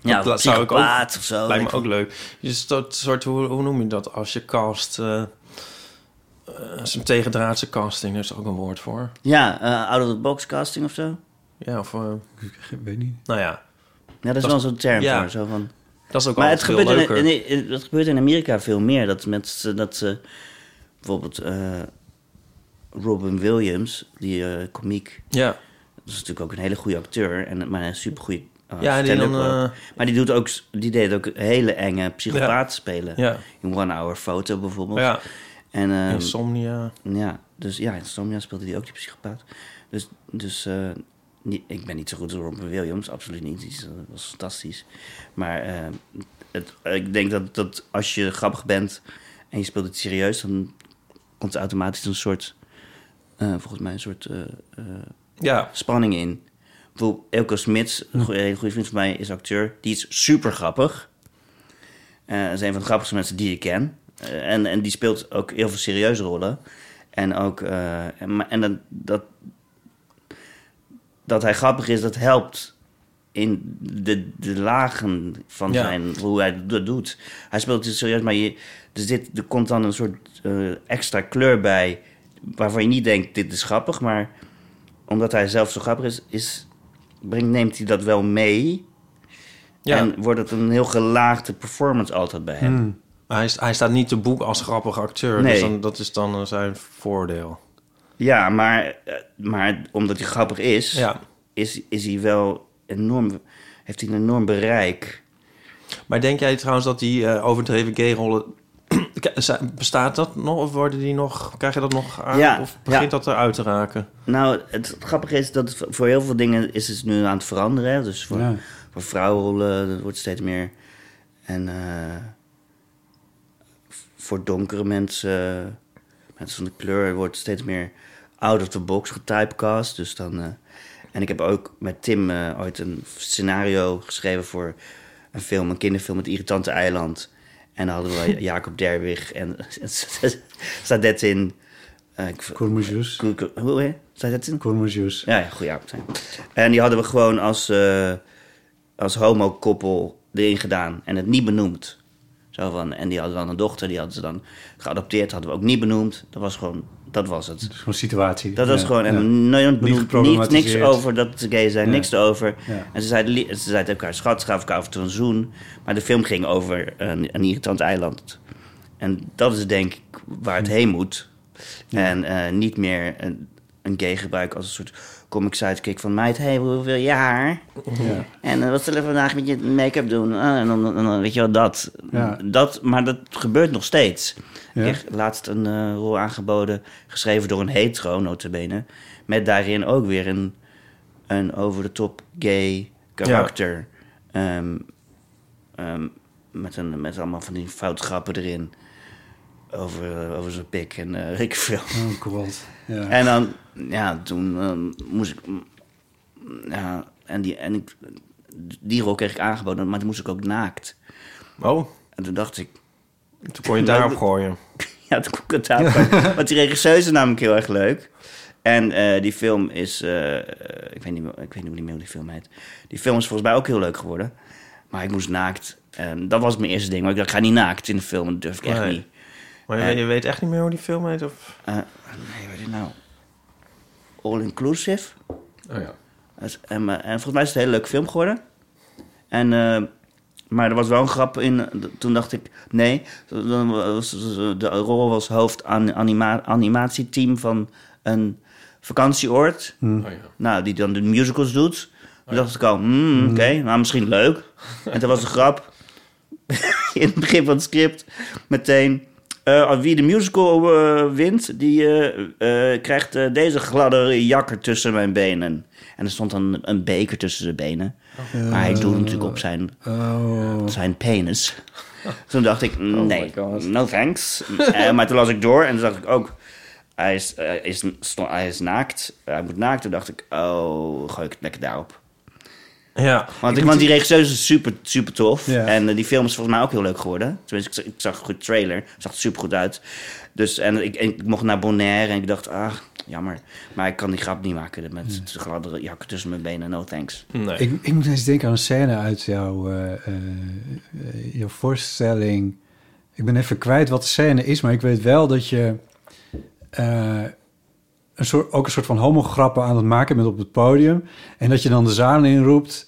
Ja,
dat
dat
zou ik ook-
of zo.
Lijkt me
weet
ook leuk. Dus dat soort, hoe, hoe noem je dat? Als je cast... eh eh, Zo'n tegendraadse casting, daar is ook een woord voor.
Ja, eh out of the box casting of zo.
Ja, of... eh,
Ik weet niet.
nou ja,
Ja, dat is
Dat-
wel zo'n term
ja.
voor. Zo van.
dat is ook
Maar
wel
het
veel
gebeurt, in,
leuker.
in, in- dat gebeurt in Amerika veel meer. Dat mensen, dat ze bijvoorbeeld eh, Robin Williams, die eh komiek,
Ja.
dat is natuurlijk ook een hele goede acteur, en, maar een supergoeie eh,
Ja, en die
stand-up
dan,
ook.
eh,
Maar die, doet ook, die deed ook hele enge psychopaat spelen.
Ja.
In One Hour Photo bijvoorbeeld.
ja,
En, ehm,
insomnia.
Ja, dus ja, in Somnia speelde hij ook die psychopaat. Dus, dus eh, niet- ik ben niet zo goed als Robin Williams, absoluut niet. Die is, eh, was fantastisch. Maar eh, het, ik denk dat, dat als je grappig bent en je speelt het serieus, dan komt er automatisch een soort, eh, volgens mij, een soort eh, eh,
Ja,
spanning in. Bijvoorbeeld Elko Smits, een goeie- hele goede vriend van mij, is acteur. Die is super grappig. Eh, dat is een van de grappigste mensen die ik ken. Eh, en, en die speelt ook heel veel serieuze rollen. En ook... eh, en, maar- en dat, dat... Dat hij grappig is, dat helpt in de, de lagen van
Ja.
zijn... Hoe hij dat doet. Hij speelt het serieus, maar je, er, zit, er komt dan een soort eh, extra kleur bij... waarvan je niet denkt, dit is grappig, maar omdat hij zelf zo grappig is, is brengt, neemt hij dat wel mee.
ja. Hmm.
En wordt het een heel gelaagde performance altijd bij hem.
Maar hij, is- hij staat niet te boek als grappig acteur. Dus
Nee.
dan, dat is dan eh, zijn voordeel.
Ja, maar, eh, maar omdat hij grappig is,
Ja.
is, is hij wel enorm, heeft hij een enorm bereik.
Maar denk jij trouwens dat die eh, overdreven gay-rollen... *clears throat* K- zijn- Bestaat dat nog? Of worden die nog, krijg je dat nog aan?
Ja,
of begint
ja.
dat eruit te raken?
Nou, het grappige is dat het voor heel veel dingen is het nu aan het veranderen. hè. Dus voor,
Ja.
voor vrouwenrollen, dat wordt steeds meer. En eh, voor donkere mensen, mensen van de kleur, wordt steeds meer out of the box getypecast. Dus dan, eh, en ik heb ook met Tim eh, ooit een scenario geschreven voor een film, een kinderfilm, Het Irritante Eiland. En daar hadden we Jacob Derwig en staat dat in. eh, ik-
Cormujus.
Ko- ko- Hoe hè? Zei dat in?
Cormujus.
Ja, ja goeie avond. En die hadden we gewoon als, eh als homokoppel erin gedaan en het niet benoemd. Zo van, en die hadden dan een dochter, die hadden ze dan geadopteerd, hadden we ook niet benoemd. Dat was gewoon, dat was het.
Zo'n situatie.
Dat was
Ja,
gewoon,
ja.
en nooit benoemd, niet, niks
geproblematiseerd.
over dat ze gay zijn,
Ja.
niks erover.
Ja.
En ze zeiden, li- ze zeiden tegen elkaar, schat, ze gaven elkaar af en toe een zoen. Maar de film ging over een, een irritant eiland. En dat is denk ik waar het heen moet. En eh, niet meer een, een gay gebruik als een soort comic sidekick van... meid, hey, hoe wil je haar?
Ja.
En eh, wat zullen we vandaag met je make-up doen? Ah, en dan, dan- dan- weet je wel, dat.
Ja.
dat. Maar dat gebeurt nog steeds.
Ja.
Ik kreeg laatst een eh, rol aangeboden, geschreven door een hetero, notabene. Met daarin ook weer een, een over-de-top gay karakter. Ehm, ehm, Met, een, met allemaal van die foutgrappen erin. Over, over zijn pik en eh weet ik veel.
Oh god. Ja.
En dan, ja, toen eh, moest ik. mm, Ja, en die, en ik, die rol kreeg ik aangeboden, maar toen moest ik ook naakt.
Oh,
En toen dacht ik, *laughs*
toen kon je het daarop
Nou,
gooien.
ja, toen kon ik het daarvan. Want die regisseur is namelijk heel erg leuk. En eh, die film is, eh, eh, ik, weet niet, meer- ik weet niet meer hoe die film heet. Die film is volgens mij ook heel leuk geworden. Maar ik moest naakt. En dat was mijn eerste ding. Maar ik dacht, ik ga niet naakt in de film. Dat durf ik echt
Nee.
niet.
Maar je,
Eh.
je weet echt niet meer hoe die film heet? Of...
Eh, nee, wat is het nou? All Inclusive?
Oh ja.
Dat is- En, eh, en volgens mij is het een hele leuke film geworden. En, eh, maar er was wel een grap in. eh, d- Toen dacht ik, nee. Dan was- eh, De rol was hoofd an- anima- animatieteam van een vakantieoord.
Oh ja.
Nou, die dan de musicals doet. Toen dacht ik al, hmm, oké, nou misschien leuk. En toen was de grap *laughs* in het begin van het script meteen... eh, wie de musical eh, wint, die eh, eh, krijgt eh, deze gladde jakker tussen mijn benen. En er stond dan een beker tussen zijn benen. Maar hij doet natuurlijk op zijn,
Oh.
zijn penis. Toen dacht ik, nee,
God.
no thanks. Eh, maar toen las ik door en toen dacht ik ook... Hij is, hij is, hij is naakt, hij moet naakt. Toen dacht ik, oh, gooi ik het lekker daarop.
Ja.
Want, ik, want die regisseur is super, super tof.
Ja.
En eh, die film is volgens mij ook heel leuk geworden. Tenminste, ik, ik zag een goed trailer. Zag er super goed uit. Dus, en ik, en ik mocht naar Bonaire en ik dacht, ah, jammer. Maar ik kan die grap niet maken met de gladde jak tussen mijn benen. No thanks.
Nee.
Ik, ik moet eens denken aan een scène uit jouw, eh, eh, eh, jouw voorstelling. Ik ben even kwijt wat de scène is, maar ik weet wel dat je eh, een soort, ook een soort van homograppen aan het maken bent op het podium. En dat je dan de zaal inroept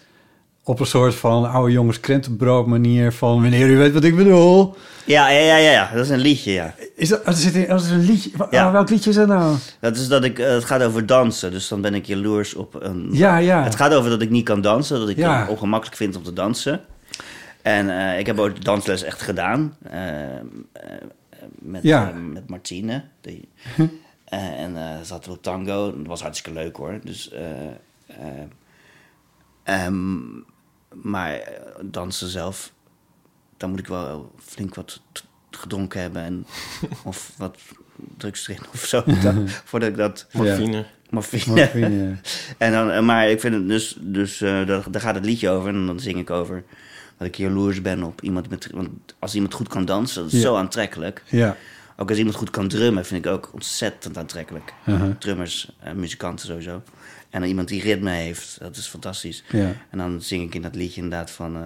op een soort van oude jongens krentenbrood manier van meneer, u weet wat ik bedoel.
Ja, ja, ja, ja, ja. dat is een liedje, ja.
Is dat, oh, er zit in, oh, er is een liedje. Wa-
Ja.
oh, welk liedje is dat nou?
Dat is dat ik, eh, het gaat over dansen. Dus dan ben ik jaloers op een...
Ja, ja.
Het gaat over dat ik niet kan dansen. Dat ik
Ah. Ja.
het ongemakkelijk vind om te dansen. En eh, ik heb ook dansles echt gedaan. eh, eh, met,
Ja.
eh, met Martine. Die,
*laughs*
eh, en eh zaten we op tango. Dat was hartstikke leuk hoor. Dus... eh, eh, ehm, maar eh, dansen zelf, dan moet ik wel flink wat t- gedronken hebben.
*laughs*
En, of wat drugs erin of zo. dan- voordat ik dat
Morfine.
morfine.
Morfine.
En dan, eh, maar ik vind het dus, dus eh, daar, daar gaat het liedje over. En dan zing ik over dat ik jaloers ben op iemand met. Want als iemand goed kan dansen, dat is
Ja.
zo aantrekkelijk.
Ja.
Ook als iemand goed kan drummen, vind ik ook ontzettend aantrekkelijk.
Uh-huh.
Drummers en muzikanten sowieso. En dan iemand die ritme heeft, dat is fantastisch.
ja.
En dan zing ik in dat liedje inderdaad van. eh,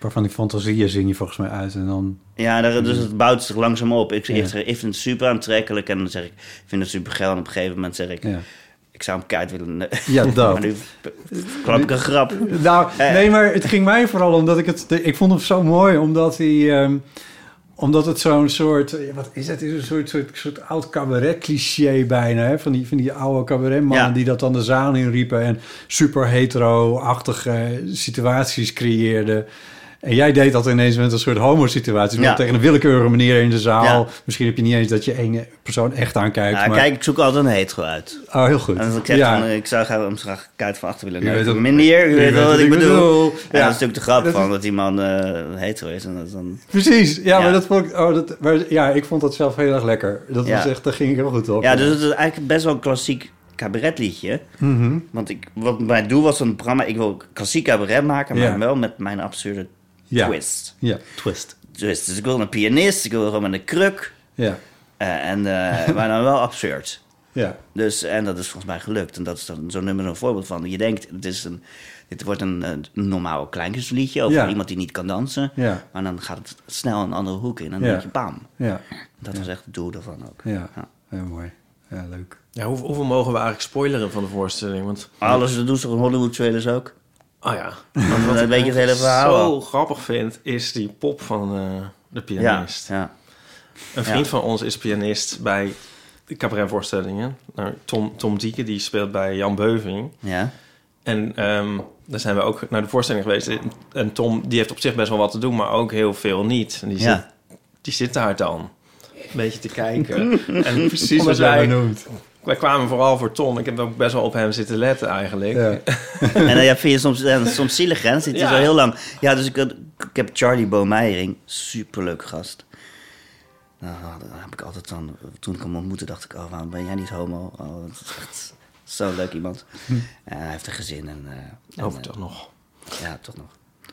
Waarvan die fantasieën zing je volgens mij uit en dan...
ja, daar, dus het bouwt zich langzaam op. Ik,
Ja.
ik, zeg, ik vind het super aantrekkelijk en dan zeg ik, ik vind het super geil. En op een gegeven moment zeg ik,
Ja,
ik zou hem keihard
*laughs*
willen. ne- *laughs*
ja dat.
Maar nu klap ik een grap.
Nou,
Eh.
nee, maar het ging mij vooral omdat ik het... Ik vond hem zo mooi, omdat hij... ehm, omdat het zo'n soort... eh, Wat is het? Het is een soort, soort, soort oud cabaret-cliché bijna, hè? Van die, van die oude cabaretmannen
Ja.
die dat dan de zaal inriepen... en super hetero-achtige situaties creëerden. En jij deed dat ineens met een soort homo-situatie.
Ja.
Tegen een willekeurige manier in de zaal.
Ja.
Misschien heb je niet eens dat je ene persoon echt aankijkt.
Nou,
maar...
Kijk, ik zoek altijd een hetero uit.
Oh, heel goed.
En als ik zeg,
Ja.
van, eh, ik zou graag hem graag kaart van achter willen
U weet
neuken.
wat-
Meneer, u weet wel wat ik bedoel. En
Ja.
dat is natuurlijk de grap
Dat is-
van dat die man eh, hetero is. En dat is dan...
Precies, ja,
Ja.
maar dat vond ik, oh, dat, maar, ja, ik vond dat zelf heel erg lekker. Dat
Ja.
was echt, daar ging ik heel goed op.
Ja, dus het is eigenlijk best wel een klassiek cabaretliedje.
Mhm.
Want ik, wat mijn doel was van het programma, ik wil klassiek cabaret maken, maar
Ja.
wel met mijn absurde
ja.
twist.
Ja,
Twist.
Dus, dus ik wil een pianist, ik wil gewoon met een kruk.
ja,
eh, en, eh, *laughs* maar dan wel absurd.
ja.
Dus, en dat is volgens mij gelukt. En dat is dan zo'n nummer een voorbeeld van. Je denkt, het is een, dit wordt een, eh, normaal kleinkunstliedje over
Ja.
iemand die niet kan dansen.
Ja.
Maar dan gaat het snel een andere hoek in. En dan
Ja.
denk je, bam.
Ja,
Dat was echt het doel daarvan ook.
ja.
Ja.
Heel mooi. Ja, leuk.
Ja, hoe, hoeveel mogen we eigenlijk spoileren van de voorstelling? Want,
Alles, dat doen ze in Hollywood trailers ook.
ah
*laughs*
ja.
Want dan weet je het hele verhaal
zo
al.
grappig vind, is die pop van eh,
Ja,
de pianist.
ja.
Een vriend
Ja.
van ons is pianist bij de cabaretvoorstellingen. Nou, Tom, Tom Dieke, die speelt bij Jan Beuving.
ja.
En ehm, daar zijn we ook naar de voorstelling geweest. En Tom, die heeft op zich best wel wat te doen, maar ook heel veel niet. En die,
Ja.
zit, die zit daar dan. Een beetje te
*laughs*
kijken. en
Precies wat
omdat
jij
wij,
noemt.
wij kwamen vooral voor Tom. Ik heb ook best wel op hem zitten letten eigenlijk.
Ja.
*laughs* eh, En dan ja, vind je soms, ja, soms zielig, hè? Dan zit je
Ja.
zo heel lang. Ja, dus ik had- Ik heb Charlie Boomeiring, superleuk gast. Nou, daar heb ik altijd dan, toen ik hem ontmoette, dacht ik, oh, waarom ben jij niet homo? Oh, *laughs* dat is echt zo leuk iemand. En hij heeft een gezin en... eh,
Over
en,
toch
eh,
nog.
Ja, toch nog.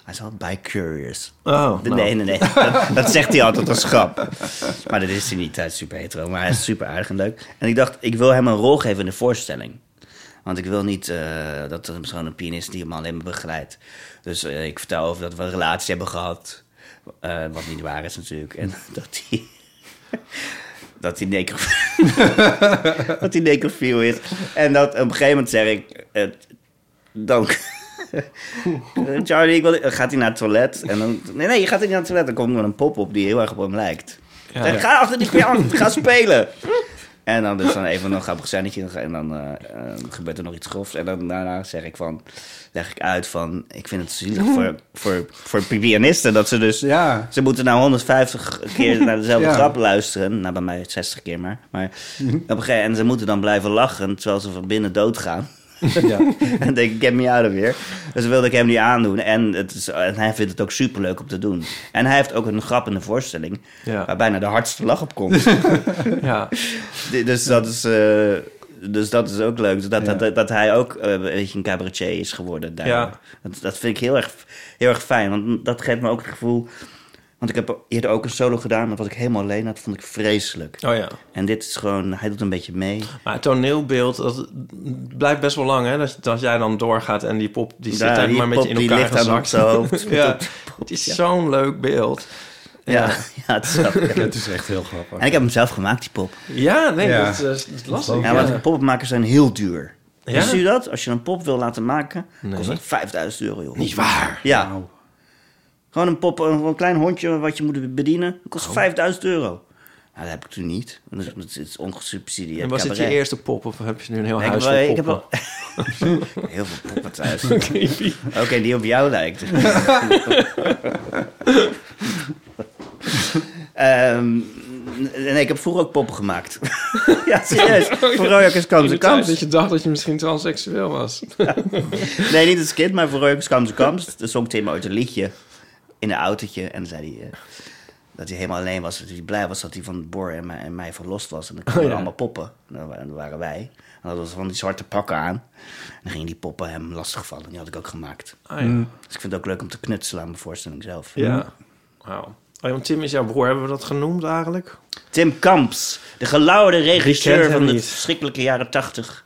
Hij is wel bi-curious.
Oh,
nee,
nou.
nee,
*laughs*
nee, nee. Dat, dat zegt hij altijd als grap. Maar dat is hij niet. Hij is super hetero, maar hij is super aardig en leuk. En ik dacht, ik wil hem een rol geven in de voorstelling. Want ik wil niet eh, dat er zo'n een pianist die hem alleen maar begeleidt. Dus eh, ik vertel over dat we een relatie hebben gehad. eh, wat niet waar is natuurlijk. En *laughs* dat hij... Dat hij necrofiel *laughs* dat hij necrofiel is. En dat op een gegeven moment zeg ik... eh, dank. Eh, *laughs* Charlie, ik wil, eh, gaat hij naar het toilet? En dan, nee, nee, je gaat niet naar het toilet. Dan komt er wel een pop op die heel erg op hem lijkt.
Ja.
Zeg, Ga achter die piano, *laughs* ga spelen. En dan dus dan even een grappig scènetje en dan eh, eh, gebeurt er nog iets grofs. En dan daarna zeg ik van, leg ik uit van, ik vind het zielig voor, voor, voor pianisten dat ze dus...
Ja.
Ze moeten nou 150 keer naar dezelfde
Ja.
grap luisteren. Nou, bij mij 60 keer maar. maar op een gegeven moment, en ze moeten dan blijven lachen terwijl ze van binnen doodgaan.
ja.
en denk ik, get me out of here. Dus wilde ik hem niet aandoen. En, het is, en hij vindt het ook superleuk om te doen. En hij heeft ook een grap in de voorstelling...
Ja.
waar bijna de hardste lach op komt.
Ja.
D- dus, dat is, eh, dus dat is ook leuk. Dat,
Ja.
dat, dat hij ook eh, een beetje een cabaretier is geworden. Daar.
Ja.
Dat, dat vind ik heel erg, heel erg fijn. Want dat geeft me ook het gevoel... Want ik heb eerder ook een solo gedaan... maar wat ik helemaal alleen had, vond ik vreselijk.
Oh ja.
En dit is gewoon... Hij doet een beetje mee.
Maar het toneelbeeld, dat blijft best wel lang, hè? Dat, dat jij dan doorgaat en die pop, die zit
Daar,
eigenlijk
die
maar een
pop,
beetje in
die
elkaar
ligt aan
gezakt.
zijn hoofd.
ja. *laughs* Het is
Ja.
zo'n leuk beeld.
Ja, *laughs* *laughs* ja. het is grappig.
Het is echt heel grappig.
En ik heb hem zelf gemaakt, die pop.
Ja, nee,
Ja.
Dat, is, dat is lastig.
Ja, want poppenmakers zijn heel duur.
Ja?
Wist u dat? Als je een pop wil laten maken, kost dat 5000 euro, joh.
Niet waar. Nou,
Ja.
Wauw.
Gewoon een pop, een, een klein hondje wat je moet bedienen, dat
Oh.
kost 5000 euro. Nou, dat heb ik toen niet. want Het is, het is ongesubsidieerd
En was dit je
cabaret.
eerste pop of heb je nu een heel
Nee,
huis
wel-
vol
heb
poppen?
wel *laughs* heel veel poppen
*laughs*
thuis. Oké, die op jou lijkt. Ehm, nee, ik heb vroeger ook poppen gemaakt. *laughs*
*laughs*
ja,
oh
serieus. Voor Royakkers kwam ze
kans.
kans.
Dat je dacht dat je misschien transseksueel was.
Nee, niet als kind, maar voor Reukens kwam ze kams. Toen zong Tim ooit een liedje in een autootje. En dan zei hij eh, dat hij helemaal alleen was. Dat hij blij was dat hij van Bor en mij, en mij verlost was. En dan kwamen
Oh, ja.
allemaal poppen. En dan wa- en dan waren wij. En dat was van die zwarte pakken aan. En dan gingen die poppen hem lastigvallen. Die had ik ook gemaakt.
Ah, ja.
Dus ik vind het ook leuk om te knutselen aan mijn voorstelling zelf.
ja. Wauw. Oh, ja, want Tim is jouw broer. Hebben we dat genoemd eigenlijk?
Tim Kamps, de gelauwde
Wie
regisseur
kent hem
van de
niet?
verschrikkelijke jaren tachtig.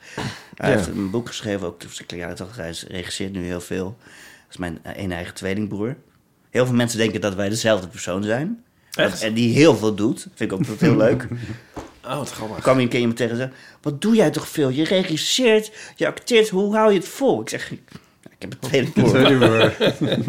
Hij
Ja.
heeft een boek geschreven, ook de verschrikkelijke jaren tachtig. Hij is- regisseert nu heel veel. Dat is mijn eh, een eigen tweelingbroer. Heel veel mensen denken dat wij dezelfde persoon zijn.
Echt?
En die heel veel doet. Vind ik ook heel
*laughs*
leuk.
Oh, wat grappig.
Dan kwam je een keer iemand tegen en zei... Wat doe jij toch veel? Je regisseert, je acteert. Hoe hou je het vol? Ik zeg... Ik heb een *laughs* tweelingbroer.
*laughs*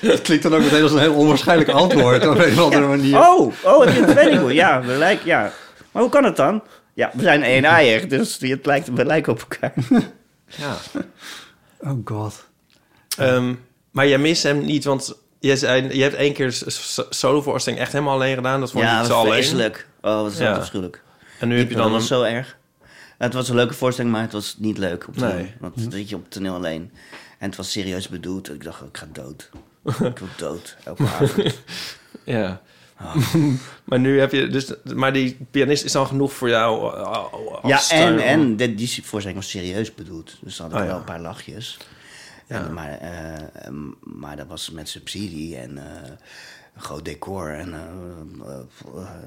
Het klinkt dan ook meteen als een heel onwaarschijnlijk antwoord op een of andere manier.
Oh, oh, heb je een tweelingbroer? Ja, we lijken... Ja. Maar hoe kan het dan? Ja, we zijn één eier, dus het lijkt, we lijken op elkaar.
Ja.
Oh god.
Ehm, maar jij mist hem niet, want je, zei, je hebt één keer s- s- solovoorstelling echt helemaal alleen gedaan. Dat vond je
Ja,
niet
dat
zo
was
alleen.
vreselijk. Oh, wat is
Ja.
dat afschuwelijk.
En nu heb je dan
Dat
een...
was zo erg. Het was een leuke voorstelling, maar het was niet leuk op toneel.
Nee. Mhm.
Want dan zit je op toneel alleen. En het was serieus bedoeld. Ik dacht, ik ga
*laughs*
dood. ik wil dood, elke avond.
Ja.
Oh.
*laughs* maar nu heb je dus... Maar die pianist is dan genoeg voor jou eh, als
ja, en,
steun.
en dit- die voorstelling was serieus bedoeld. Dus dan had ik
Oh, ja.
wel een paar lachjes. En, maar, eh, eh, maar dat was met subsidie en eh, een groot decor. En eh,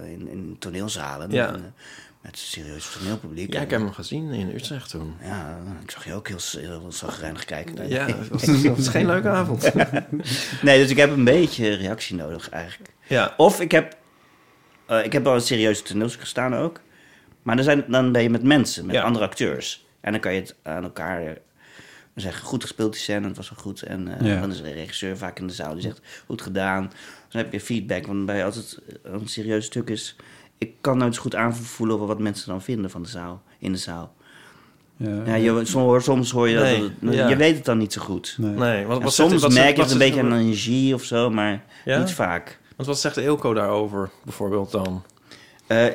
eh, in, in toneelzalen.
Ja.
En, eh, met serieus toneelpubliek.
Ja, ik
En-
heb hem gezien in Utrecht toen.
Ja, ik zag je ook heel, s- heel zagrijnig kijken. Nee. *laughs*
Ja, dat was, dat was geen leuke avond.
nee, dus ik heb een beetje reactie nodig eigenlijk.
Ja.
Of ik heb, eh, ik heb wel een serieuze toneels gestaan ook. Maar dan, zijn, dan ben je met mensen, met
Ja.
andere acteurs. En dan kan je het aan elkaar eh, zeggen, goed gespeeld die scène, het was wel goed. En eh,
Ja.
dan is de regisseur vaak in de zaal, die zegt, goed gedaan. Dus dan heb je feedback, want bij als het een serieus stuk is... ik kan nooit zo goed aanvoelen wat mensen dan vinden van de zaal, in de zaal.
Ja,
Ja, je, soms, soms hoor je dat,
Nee,
dat-
ja.
je weet het dan niet zo goed.
Nee.
Nee, wat,
En
wat
soms
zegt, wat,
merk je
wat
het een
zegt-
beetje aan energie of zo, maar
Ja?
niet vaak.
Want wat zegt Eelco daarover, bijvoorbeeld dan?
Eh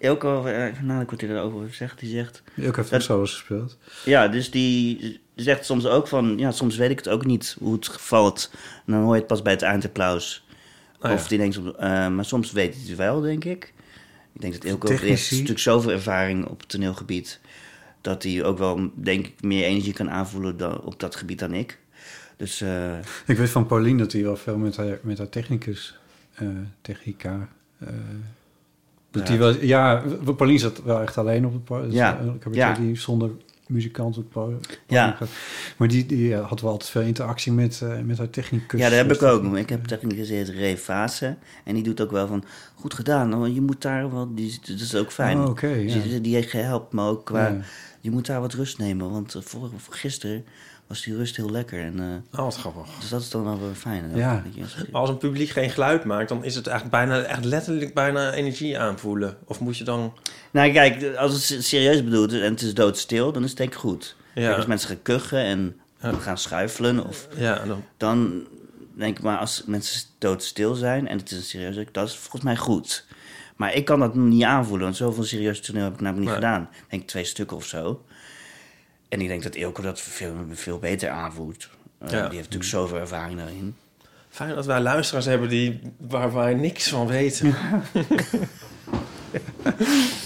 Elko, eh, nou, ik wat hij daarover zegt, die zegt...
Ook heeft
Dat-
ook zo gespeeld.
Ja, dus die, die zegt soms ook van, ja, soms weet ik het ook niet hoe het valt. En dan hoor je het pas bij het eindapplaus.
Oh ja.
Of die denkt, soms, eh, maar soms weet hij het wel, denk ik. Ik denk dat Ilko
Technici.
heeft natuurlijk zoveel ervaring op het toneelgebied... dat hij ook wel, denk ik, meer energie kan aanvoelen dan, op dat gebied dan ik. Dus eh,
Ik weet van Paulien dat hij wel veel met haar, met haar technicus, eh, technica... eh, dat
Ja.
ja. Wel, ja, Paulien zat wel echt alleen op het dus, podium.
Ja.
Dat is een
Ja.
cabaretier die zonder muzikant op het podium
Ja.
gaat. Maar die, die eh, had wel altijd veel interactie met, eh, met haar technicus.
Ja, dat heb
Dus
ik ook. Ik heb technicus Ray Fase. En die doet ook wel van, goed gedaan. hoor, Je moet daar wel... Die, dat is ook fijn.
Oh, oké, ja.
Dus die, die heeft gehelpt me ook qua...
Ja.
Je moet daar wat rust nemen. Want eh, vorige, gisteren was die rust heel lekker. En, eh,
Oh, wat grappig.
dus dat is dan wel weer fijn.
Ja.
Weet je,
Maar als een publiek geen geluid maakt, dan is het echt bijna, echt letterlijk bijna energie aanvoelen. Of moet je dan...
Nou kijk, als het se- serieus bedoeld is en het is doodstil, dan is het denk ik goed.
Ja.
Kijk, als mensen gaan kuchen en
Ja.
gaan schuifelen of...
Ja, dan...
dan denk ik maar als mensen doodstil zijn en het is een serieus werk, dat is volgens mij goed. Maar ik kan dat niet aanvoelen, want zoveel serieus toneel heb ik namelijk niet
Nee.
gedaan. Ik denk twee stukken of zo. En ik denk dat Ilko dat veel, veel beter aanvoelt. Uh,
Ja.
Die heeft natuurlijk zoveel ervaring daarin.
Fijn dat wij luisteraars hebben die, waar wij niks van weten. *laughs*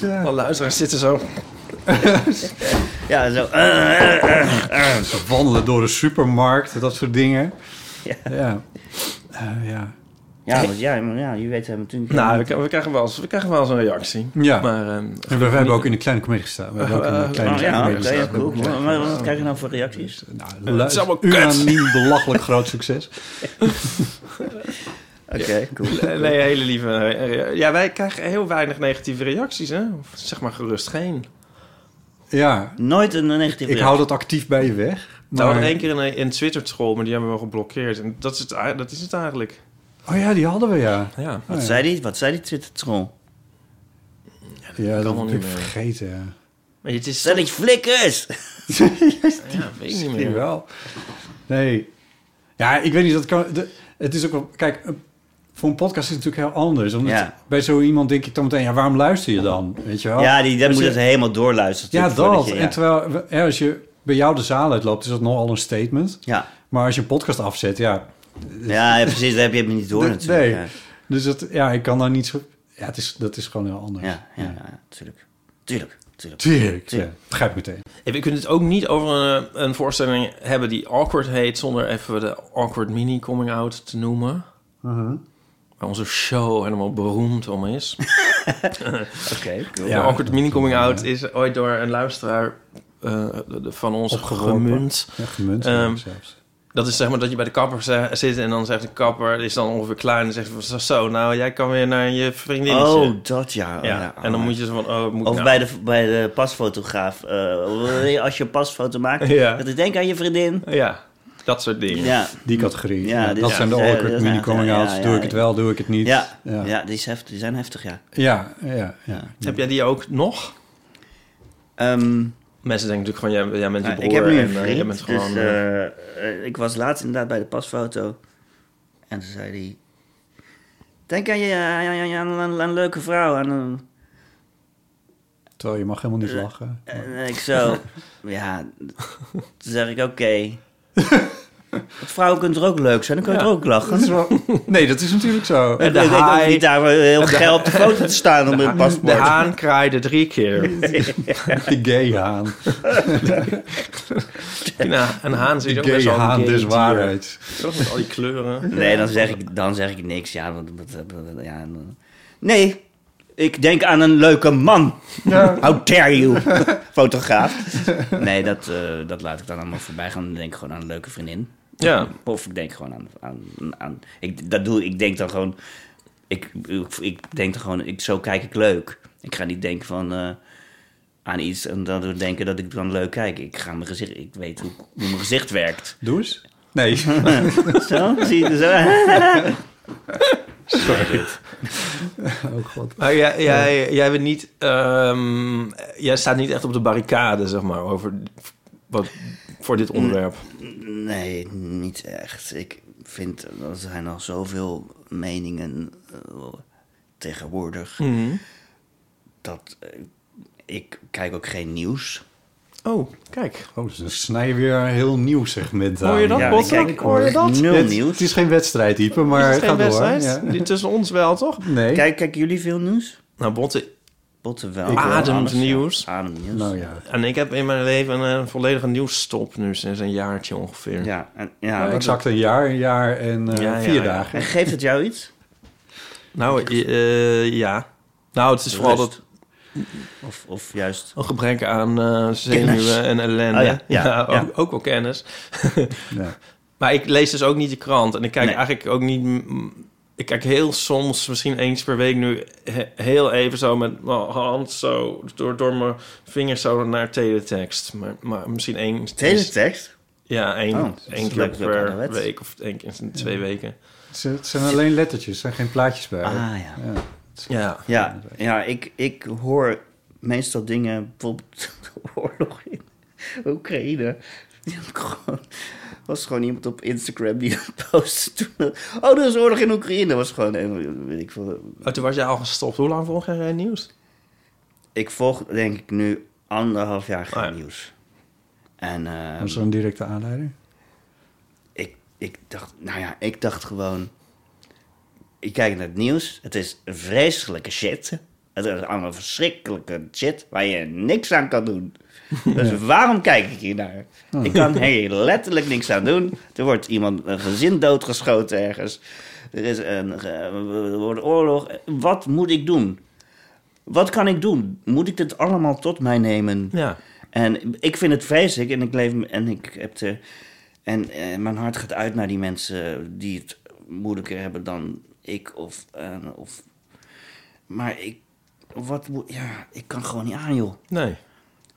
Ja.
Alle luisteraars zitten zo...
Ja, zo. eh, eh, eh, eh.
Ze wandelen door de supermarkt, dat soort dingen.
Ja.
Ja. Eh, ja.
Ja, want, ja, maar ja, je weet hem natuurlijk.
Nou, we, k- we krijgen wel eens, we krijgen wel eens een reactie.
Ja.
Maar, ehm,
En we, we hebben ook in de kleine comedie gestaan. We hebben ook in de kleine
Oh, ja,
comedie
oké,
gestaan.
cool. Maar maar wat krijg je nou voor reacties?
Nou, dat is
allemaal kut.
unaniem belachelijk groot succes.
Oké, cool.
nee, hele lieve... eh, Ja, wij krijgen heel weinig negatieve reacties, hè? Of zeg maar gerust geen.
Ja,
Nooit een negatieve
ik hou dat actief bij je weg.
Nou, we
Maar...
hadden één keer een, een Twitter-school, maar die hebben we wel geblokkeerd. En dat is het, ei- dat is het eigenlijk.
Oh ja, die hadden we, ja.
Ja.
Wat zei die, wat zei die Twitter-troll?
Ja, dat
allemaal
heb
niet
ik
meer.
vergeten. ja.
Maar het is...
Stel ik flikkers!
Ja, weet ik niet
Misschien
meer.
wel. Nee. Ja, ik weet niet, dat kan... de- het is ook wel... Kijk, eh, voor een podcast is het natuurlijk heel anders. Omdat
Ja.
bij zo iemand denk ik dan meteen... Ja, waarom luister je dan? Weet je wel?
Ja, die, dan
Dus
moet
je-
het helemaal doorluisteren.
Ja,
natuurlijk,
dat.
voordat je-
En terwijl, we- hè, als je bij jou de zaal uitloopt... is dat nogal een statement.
ja.
Maar als je een podcast afzet, ja...
Ja, ja, precies. Dat heb je hem niet door
Dat-
natuurlijk.
Dus- nee. Dus dat, ja, ik kan daar niet zo... Ja, het is, dat is gewoon heel anders.
Ja, ja, ja, ja, tuurlijk. Tuurlijk, tuurlijk.
Tuurlijk.
Tuurlijk.
Ja, begrijp ik meteen.
Hey, We kunnen het ook niet over een, een voorstelling hebben die awkward heet... zonder even de awkward mini-coming-out te noemen. Mhm. Waar onze show helemaal beroemd om is.
Oké, cool.
de awkward mini-coming-out is ooit door een luisteraar eh, de- van ons
Opgeworpen.
gemunt.
Ja, gemunt
Ehm,
zelfs.
Dat is zeg maar dat je bij de kapper ze- zit en dan zegt de kapper... is dan ongeveer klaar en dan zegt van, zo, zo, nou, jij kan weer naar je vriendinnetje.
Oh, dat ja. Oh,
dus, eh, ja.
ja.
en dan moet je zo van, oh, moet ik
Of
nou-
bij de, bij de pasfotograaf. eh, wil je als je een pasfoto maakt,
Ja.
dat ik denk aan je vriendin.
Ja, dat soort dingen.
Ja,
Die categorie.
Ja,
Ja,
dit
dat
is-
zijn de
ja,
awkward
dat is-
mini coming outs.
ja, ja,
doe ik
ja.
het wel, doe ik het niet.
ja, ja.
ja.
die, is heftig, die zijn heftig, ja.
Ja, ja, ja.
Heb jij die ook nog?
Ehm,
Mensen denken natuurlijk gewoon, jij, jij bent je
nou,
broer.
ik heb nu een
en, eh,
vriend,
jij bent gewoon,
dus
eh,
eh, eh, ik was laatst inderdaad bij de pasfoto. En toen zei hij... Denk aan je aan, aan- aan- aan een leuke vrouw, aan een
Terwijl je mag helemaal niet lachen. *laughs*
En ik
*laughs*
zo, ja, toen zeg ik oké. *laughs* Want Vrouwen kunnen er ook leuk zijn, dan kunnen
Ja.
er ook lachen.
Dat is wel... Nee, dat is natuurlijk zo.
En
Ik
de
denk ook
haai.
niet daar heel geil op de foto te staan om een
de
paspoort.
haan kraaide drie *laughs* keer.
De gay haan.
nou, een haan is
De
ook best
gay
wel een
haan
gay
des
dier.
waarheid.
Toch met al die kleuren.
Nee, dan zeg, ik, dan zeg ik niks. Ja, want, want- want- ja, dan- nee, ik denk aan een leuke man. How dare you, fotograaf. Nee, dat, eh, dat laat ik dan allemaal voorbij gaan. Dan denk ik gewoon aan een leuke vriendin.
Ja.
Of ik denk gewoon aan... aan, aan ik, dat doe, ik denk dan gewoon... Ik, ik, ik denk dan gewoon... Ik, zo kijk ik leuk. Ik ga niet denken van... eh, aan iets en dan denken dat ik dan leuk kijk. Ik ga mijn gezicht... Ik weet hoe, hoe mijn gezicht
*laughs*
werkt.
Doe eens. Nee.
Zo, zie je zo?
Oh god.
Maar jij, jij, jij, bent niet, ehm, jij staat niet echt op de barricade, zeg maar, over wat, voor dit onderwerp.
Nee, niet echt. Ik vind... Er zijn al zoveel meningen eh,
Hm. Mm.
tegenwoordig. Dat eh, ik kijk ook geen nieuws.
Oh, kijk.
Oh, dus dan snij je weer een heel nieuw segment aan.
Hoor je dat,
Ja,
Botte?
kijk,
Hoor je dat?
Nul
Het,
nieuws.
het is geen wedstrijd, Ipe, maar
is het geen
ga door.
wedstrijd?
Ja.
Die Tussen ons wel, toch?
Nee.
Kijk, kijken jullie veel nieuws?
Nou, Botte
Botten wel.
Ik Ademt
Alles, ja.
nieuws.
Ademt nieuws.
Nou ja.
En ik heb in mijn leven een, eh, volledige nieuwsstop nu sinds een jaartje ongeveer.
Ja, en, ja,
Nou, exact een jaar, een jaar en eh,
Ja, ja,
vier
ja.
dagen.
en geeft het jou iets?
Nou, eh, eh, ja. Nou, het is vooral
Rust.
dat Oh,
Of, of juist...
een gebrek aan eh zenuwen en ellende.
Oh ja, ja, ja.
Ook, ook wel kennis.
Ja.
Maar ik lees dus ook niet de krant. En ik kijk
Nee.
eigenlijk ook niet... mm, Ik kijk heel soms, misschien eens per week nu... he- heel even zo met mijn hand zo... door, door mijn vingers zo naar teletext. Maar, maar misschien eens...
Teletext?
Ja, één,
Oh, dat is
één keer
leuk, leuk
per
ouderwets.
week of één keer in twee weken.
Het zijn- Het zijn alleen lettertjes, er zijn geen plaatjes bij.
Ah ja.
Ja.
Ja, ja ik, ik hoor meestal dingen, bijvoorbeeld *laughs* de oorlog in Oekraïne. Die had ik gewoon- was gewoon iemand op Instagram die dat postte toen. Oh, er is oorlog in Oekraïne. was gewoon, en weet ik veel.
Oh, toen was jij al gestopt. Hoe lang volg jij geen nieuws?
Ik volg denk ik nu anderhalf jaar geen
Oh ja.
nieuws. En ehm,
Dat is zo'n directe aanleiding.
ik, ik dacht, nou ja, ik dacht gewoon. Ik kijk naar het nieuws. Het is vreselijke shit. Het is allemaal verschrikkelijke shit waar je niks aan kan doen. Dus waarom kijk ik hier naar? Ik kan hier letterlijk niks aan doen. Er wordt iemand een gezin doodgeschoten ergens. Er is een eh, er wordt oorlog. Wat moet ik doen? Wat kan ik doen? Moet ik dit allemaal tot mij nemen?
Ja.
En ik vind het vreselijk en ik leef en ik heb de en eh, mijn hart gaat uit naar die mensen die het moeilijker hebben dan ik of eh, of maar ik wat moet- ja ik kan gewoon niet aan joh.
Nee.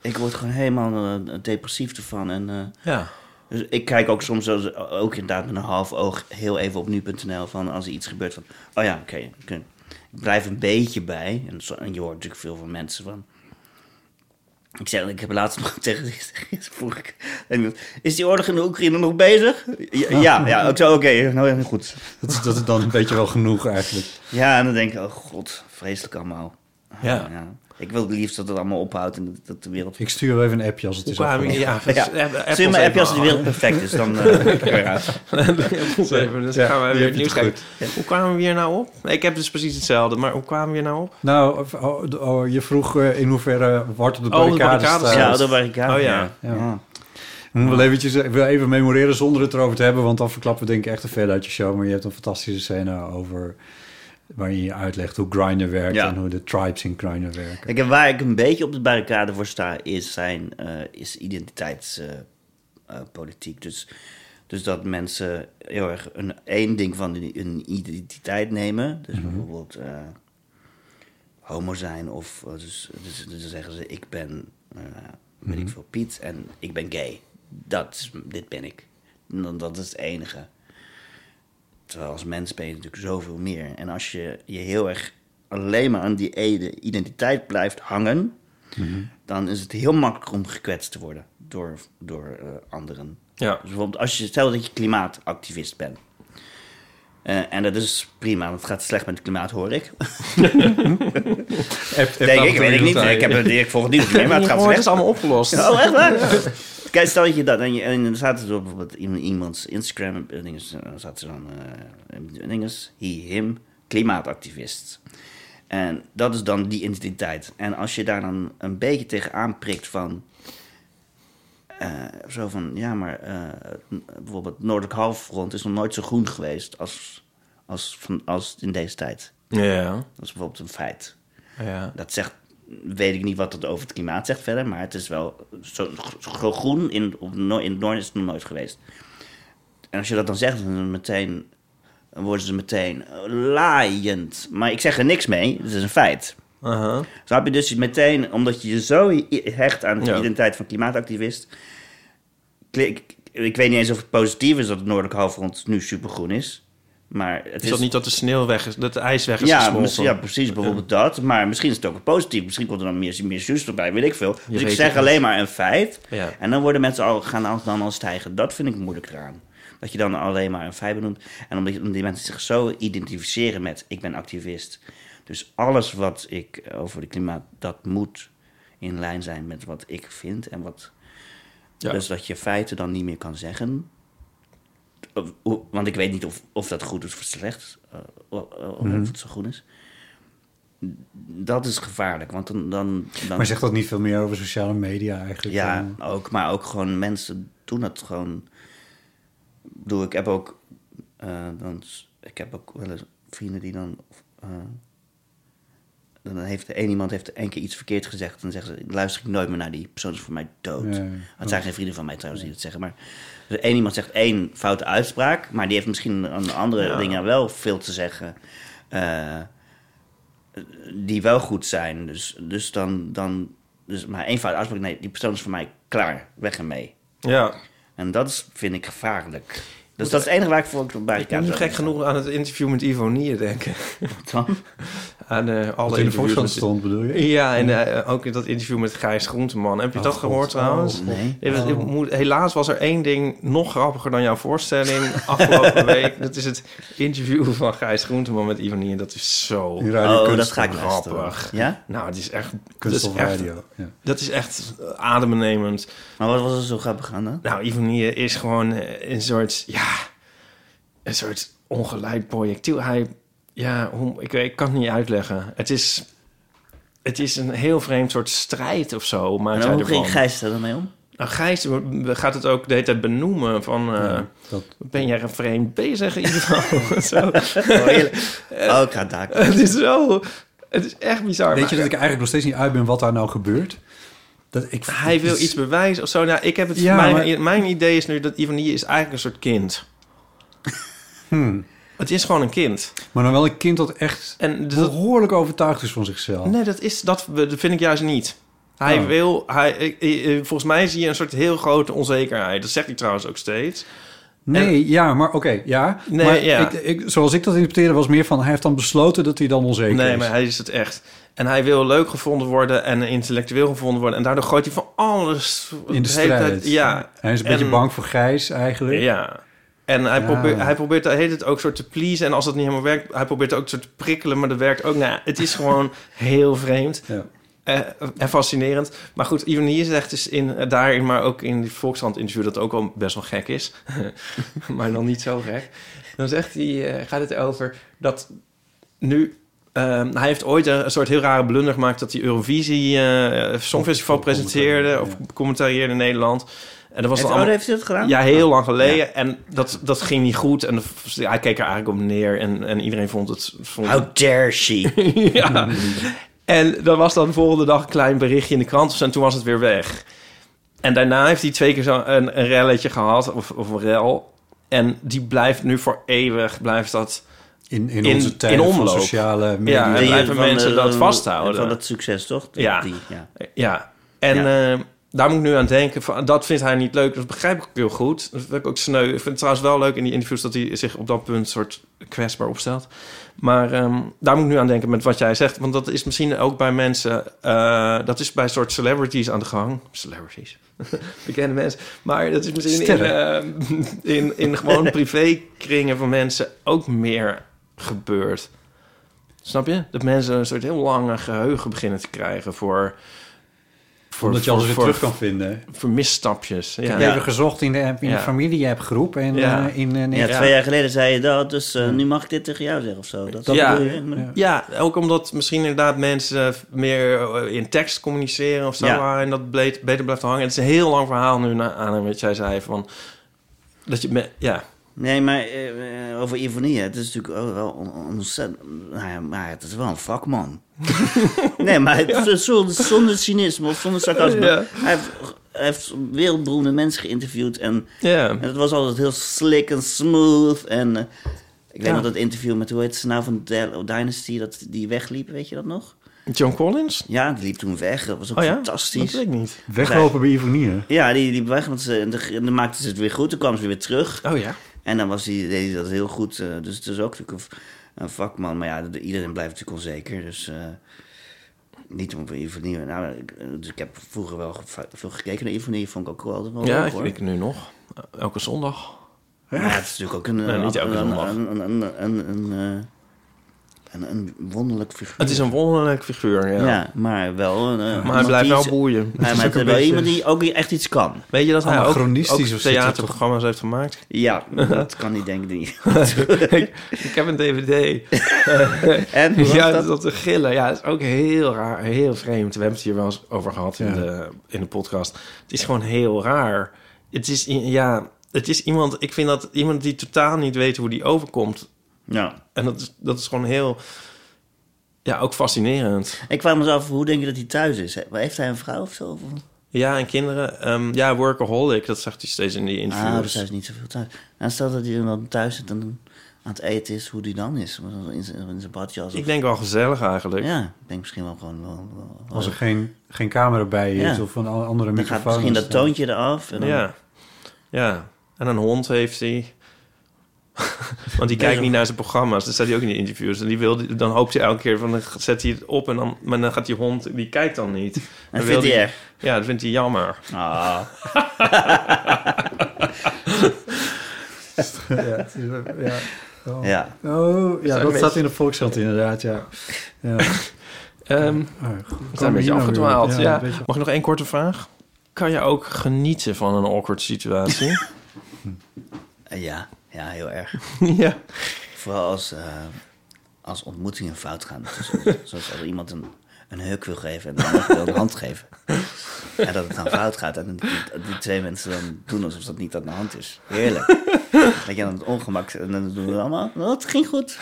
Ik word gewoon helemaal eh, depressief ervan en eh,
Ja.
dus ik kijk ook soms als- ook inderdaad met een half oog heel even op nu.nl van als er iets gebeurt van oh ja oké ik- ik blijf een beetje bij en, zo- en je hoort natuurlijk veel van mensen van ik zeg ik heb laatst nog *laughs* tegen vroeg ik en iemand, is die oorlog in de Oekraïne nog bezig
*laughs*
ja ja, ja ik zei, oké nou ja goed
Dat is, dat is dan een beetje wel genoeg eigenlijk.
ja en dan denk ik oh god vreselijk allemaal
Ja.
ik wil het liefst dat het allemaal ophoudt en dat, dat de wereld
Ik stuur wel even een appje als het
Hoe
is
kwamen
afgelopen.
jullie... Ja. dus
ja, Stuur me een appje als de
*laughs*
wereld perfect is, dan eh, *laughs* ben ik er weer uit.
Even, dus gaan we weer het
het
nieuws kijken. Hoe kwamen we hier nou op? Nee, Ik heb dus precies hetzelfde, maar hoe kwamen we hier nou op?
Nou, of- oh, de- oh, je vroeg eh, in hoeverre wordt op de
Oh, de
barricade
barricades,
staat.
Ja, dat ben ik
Oh, ja.
ja.
Ik moet wel eventjes, ik wil even memoreren zonder het erover te hebben, want dan verklappen we denk ik echt een veel uit je show. Maar je hebt een fantastische scène over waarin je uitlegt hoe Grindr werkt
Ja.
en hoe de tribes in Grindr werken.
Kijk, en waar ik een beetje op de barricade voor sta, is, zijn, eh, is identiteitspolitiek. dus, dus dat mensen heel erg een, één ding van hun hun identiteit nemen. Dus bijvoorbeeld eh, homo zijn of eh, dus, dus, dus dan zeggen ze ik ben, eh weet ik veel, Piet en ik ben gay. Dat, is- dit ben ik. En dan- Dat is het enige. Terwijl als mens ben je natuurlijk zoveel meer. En als je je heel erg alleen maar aan die ene identiteit blijft hangen, dan is het heel makkelijk om gekwetst te worden door, door eh, anderen.
Ja.
Dus bijvoorbeeld als je stel dat je klimaatactivist bent. Eh, en dat is prima, want het gaat slecht met het klimaat, hoor ik. Denk ik, weet ik niet. Ik, heb, het- ik volg het nieuws niet meer, maar
*laughs*
het gaat
Oh,
slecht.
het is allemaal
*laughs*
opgelost.
Oh, echt waar? Kijk, stel dat je dat... En, je, en dan staat er zo bijvoorbeeld in iemands Instagram... eh, Dinges, eh, dan staat er dan... eh dinges, he, him, klimaatactivist. En dat is dan die identiteit. En als je daar dan een beetje tegenaan prikt van... eh, zo van, ja, maar eh, n- bijvoorbeeld Noordelijk Halfrond is nog nooit zo groen geweest als, als, van, als in deze tijd.
Ja.
Dat is bijvoorbeeld een feit.
Ja.
Dat zegt, weet ik niet wat dat over het klimaat zegt verder, maar het is wel zo, zo groen in, op Noor- in het noorden is het nog nooit geweest. En als je dat dan zegt, dan, meteen, dan worden ze meteen laaiend. Maar ik zeg er niks mee, het is een feit.
Aha.
Snap je dus meteen, omdat je je zo i- hecht aan de
Ja.
identiteit van klimaatactivist. klik- Ik weet niet eens of het positief is dat het noordelijk halfrond nu supergroen is. Maar het
Is dat niet dat de sneeuw weg is, dat de ijs weg is
ja,
gesmolten?
mis- ja, precies. Bijvoorbeeld dat. Maar misschien is het ook een positief. Misschien komt er dan meer, meer zuurstof bij, weet ik veel. Dus ik
weet
zeg
het niet.
alleen maar een feit.
Ja.
En dan worden mensen al, gaan al- dan al stijgen. Dat vind ik moeilijk eraan. Dat je dan alleen maar een feit benoemt. En omdat, je- omdat die mensen zich zo identificeren met... ik ben activist. Dus alles eh, wat ik over het klimaat... dat moet in lijn zijn met wat ik vind en wat...
Ja.
Dus dat je feiten dan niet meer kan zeggen. Of- hoe- Want ik weet niet of, of dat goed is of slecht. eh, Of, of
Mhm.
het zo goed is. Dat is gevaarlijk, want dan... dan, dan
Maar zegt dat niet veel meer over sociale media eigenlijk?
ja,
dan?
ook, maar ook gewoon mensen doen dat gewoon. Ik bedoel, ik heb ook, eh, dan, s- ik heb ook wel eens vrienden die dan. eh, dan heeft één iemand heeft één keer iets verkeerd gezegd. Dan zeggen ze: luister ik nooit meer naar die persoon, is voor mij dood.
Ja, ja.
Het zijn geen vrienden van mij trouwens die dat zeggen. Maar dus één iemand zegt één foute uitspraak, maar die heeft misschien aan andere dingen wel veel te zeggen. eh, die wel goed zijn. Dus, dus dan, dan dus maar één fout uitspraak. Nee, die persoon is voor mij klaar. Weg ermee.
Ja.
En dat is, vind ik gevaarlijk. Dus dat is het enige waar ik voor bij
Ik kan nu gek genoeg aan het interview met Ivonie denken.
*laughs*
*laughs*
Dan?
Aan eh, alle
Wat in de
interviews
voorstand
met-
stond, bedoel je?
Ja, en eh, ook in dat interview met Gijs Groenteman. Heb je
Oh,
dat gehoord trouwens?
Nee.
Ja, dat- ik moet- Helaas was er één ding nog grappiger dan jouw voorstelling *laughs* afgelopen week. Dat is het interview van Gijs Groenteman met Ivonie. En dat is zo
Die radio
Oh, dat
kunst-
ga ik
grappig.
luisteren. Ja?
Nou, het is echt...
kunst
dat
op
is echt-
radio. Ja.
Dat is echt adembenemend.
Maar wat was er zo grappig aan dan?
Nou, Ivonie is gewoon eh, een soort, ja, een soort ongelijk projectiel. Hij, ja, hoe, ik, ik kan het niet uitleggen. Het is, het is een heel vreemd soort strijd of zo. Maar
En hoe ging Gijs daar dan mee om?
Nou, Gijs gaat het ook de hele tijd benoemen van... eh,
dat-
Ben jij vreemd bezig in ieder *laughs* geval? zo.
Oh, heerlijk.
Eh,
oh ik ga het daar.
Het is zo... Het is echt bizar.
Weet
maar-
je dat ik eigenlijk nog steeds niet uit ben wat daar nou gebeurt? Dat ik,
Hij wil
het is-
iets bewijzen of zo. Nou, ik heb het,
Ja,
mijn,
maar-
mijn idee is nu dat Ivonie is eigenlijk een soort kind. Het is gewoon een kind.
Hmm. Maar dan wel een kind dat echt
En dus dat-
behoorlijk overtuigd is van zichzelf.
nee, dat, is, dat, dat vind ik juist niet. Hij
Oh.
wil... Hij, eh, eh, eh, volgens mij zie je een soort heel grote onzekerheid. Dat zegt hij trouwens ook steeds.
Nee, ja, maar oké, ja.
Nee,
maar
ja.
Ik, ik, zoals ik dat interpreteerde was meer van... hij heeft dan besloten dat hij dan onzeker
Nee,
is.
maar hij is het echt. En hij wil leuk gevonden worden en intellectueel gevonden worden. En daardoor gooit hij van alles...
In de
hele tijd-
strijd.
ja.
Hij is een beetje
En-
bang voor Gijs eigenlijk.
Ja. En hij,
Ja.
probeert, hij probeert de hele tijd ook soort te pleasen. En als dat niet helemaal werkt, hij probeert ook soort te prikkelen. Maar dat werkt ook. Nou, het is gewoon heel vreemd
Ja.
eh, en fascinerend. Maar goed, Ironie is echt dus in, eh, daarin, maar ook in die Volkskrant-interview... dat ook al best wel gek is. *laughs* maar dan niet zo gek. Dan zegt hij, eh, gaat het over dat nu... ehm, hij heeft ooit een, een soort heel rare blunder gemaakt... dat hij Eurovisie eh Songfestival presenteerde... of commentarieerde in Nederland... En dat was
Heeft,
dan
oh,
allemaal-
heeft hij dat gedaan?
ja, heel lang geleden. En dat, dat ging niet goed. En de- hij keek er eigenlijk op neer. En, en iedereen vond het... Vond het-
How dare
*laughs*
she?
ja. En dan was dan de volgende dag een klein berichtje in de krant. of zo, En toen was het weer weg. En daarna heeft hij twee keer zo een, een relletje gehad. Of, of een rel. En die blijft nu voor eeuwig. Blijft dat...
In, in,
In-
onze tijd
in
van
omloop.
sociale media.
Ja, en
Die
blijven
van
mensen
de-
dat vasthouden.
Van dat succes, toch? Die-
Ja.
die, ja.
Ja. En eh, daar moet ik nu aan denken. Van, dat vindt hij niet leuk. Dat begrijp ik ook heel goed. Dat vind ik ook sneu. Ik vind het trouwens wel leuk in die interviews... dat hij zich op dat punt soort kwetsbaar opstelt. Maar ehm, daar moet ik nu aan denken met wat jij zegt. Want dat is misschien ook bij mensen... eh, dat is bij soort celebrities aan de gang. Celebrities. *laughs* Bekende mensen. Maar dat is misschien in, eh, in, in gewoon privékringen van mensen... ook meer gebeurd. Snap je? Dat mensen een soort heel lange geheugen beginnen te krijgen voor... voor
Omdat je alles weer
voor-
terug kan vinden.
Voor misstapjes. Ja.
Ik heb even gezocht in de, app- in
Ja.
de familie-app groep. En
Ja.
eh, in, eh, nee,
Ja,
Ja.
twee jaar geleden zei je dat, dus eh, nu mag ik dit tegen jou zeggen of zo. Dat,
Ja.
bedoel je?
Ja.
Ja, ook omdat misschien inderdaad mensen meer eh, in tekst communiceren of zo.
Ja.
waren En dat bleef, beter blijft hangen. Het is een heel lang verhaal nu na, aan wat jij zei. Van, dat je, me- ja,
Nee, maar eh, eh, over Ivonie, het is natuurlijk ook wel on- ontzettend... Nou ja, maar het is wel een
*laughs*
vakman. nee, maar het, zonder, zonder cynisme of zonder sarcasme.
Ja.
Hij, heeft, hij heeft wereldberoemde mensen geïnterviewd en,
ja.
en het was altijd heel slick en smooth. En eh, ik weet
Ja.
nog dat interview met, hoe heet ze nou, van Del- Dynasty, dat die wegliep, weet je dat nog?
John Collins?
Ja, die liep toen weg, dat was ook
Oh ja? Dat
fantastisch.
weet ik niet.
Weglopen bij Ivonie, hè?
Ja, die, die weg, want ze, en dan- en dan maakte ze het weer goed. Toen kwam ze weer terug.
Oh ja.
En dan was die, deed hij dat heel goed. eh, dus het is ook natuurlijk een, v- een vakman. Maar ja, de- iedereen blijft natuurlijk onzeker. Dus eh, niet om voor Ivonie... Nou, ik, eh, dus ik heb vroeger wel ge- veel gekeken naar Ivonie. Vond ik ook wel altijd wel
Ja,
leuk,
ik,
hoor.
ik nu nog. Elke zondag.
Maar ja, het is natuurlijk ook een...
Nee,
eh,
niet elke
een-
zondag.
Een, een, een, een, een, eh, een, een wonderlijk figuur.
Het is een wonderlijk figuur, ja.
ja. maar wel... Een, eh,
Maar hij blijft wel boeien.
Maar, maar het is wel iemand die ook echt iets kan.
Weet je dat hij ook, ook
Anachronistisch of zo,
theaterprogramma's heeft gemaakt? *laughs*
Ja, dat kan niet denk ik niet.
ik, ik heb een *laughs* dvd.
en hoe was
Ja,
dat?
dat dat te gillen. Ja, dat is ook heel raar, heel vreemd. We hebben het hier wel eens over gehad in,
Ja.
de, in de podcast. Het is gewoon heel raar. Het is, i- ja, het is iemand... Ik vind dat iemand die totaal niet weet hoe die overkomt.
Ja.
En dat is, dat is gewoon heel... Ja, ook fascinerend.
Ik kwam me eens af, hoe denk je dat hij thuis is? Heeft hij een vrouw of zo? Of-
Ja, en kinderen... ehm, ja, workaholic, dat zegt hij steeds in die
Ah, dus
interviews.
hij is niet zoveel thuis. En stel dat hij dan thuis zit en dan aan het eten is, hoe die dan is. In zijn in zijn badjas. Of...
ik denk wel gezellig eigenlijk.
Ja, ik denk misschien wel gewoon... Wel, wel-
Als er geen, geen camera bij
Ja.
is of een a- andere
dan gaat
microfoon.
misschien
is,
dat toontje eraf. En dan...
Ja. ja, en een hond heeft hij. *laughs* Want die kijkt niet naar zijn programma's. Dat zei hij ook in die interviews. En die wilde, dan hoopt hij elke keer van, dan zet hij het op. En dan, maar dan gaat die hond, die kijkt dan niet. Dan
vindt
wil
hij erg.
Ja, dat vindt hij jammer.
Ah,
*laughs* ja, het is wel-
*laughs*
ja. Oh.
ja.
Oh, ja,
een
dat
beetje-
staat in de Volkskrant inderdaad, ja.
*laughs*
ja. Oh,
Ehm, we zijn een beetje
hier nou
afgedwaald.
weer?
Ja,
Ja, een beetje-
Mag ik nog één korte vraag? Kan je ook genieten van een awkward
*laughs*
situatie?
Eh, ja. Ja, heel erg.
ja.
Vooral als, eh, als ontmoetingen fout gaan. Dus, zoals als iemand een, een heuk wil geven en de ander wil een hand geven. En dat het dan fout gaat. En die, die twee mensen dan doen alsof dat niet aan de hand is. Heerlijk. Dat je dan het ongemak zit en dan doen we allemaal. "Oh, Het ging goed.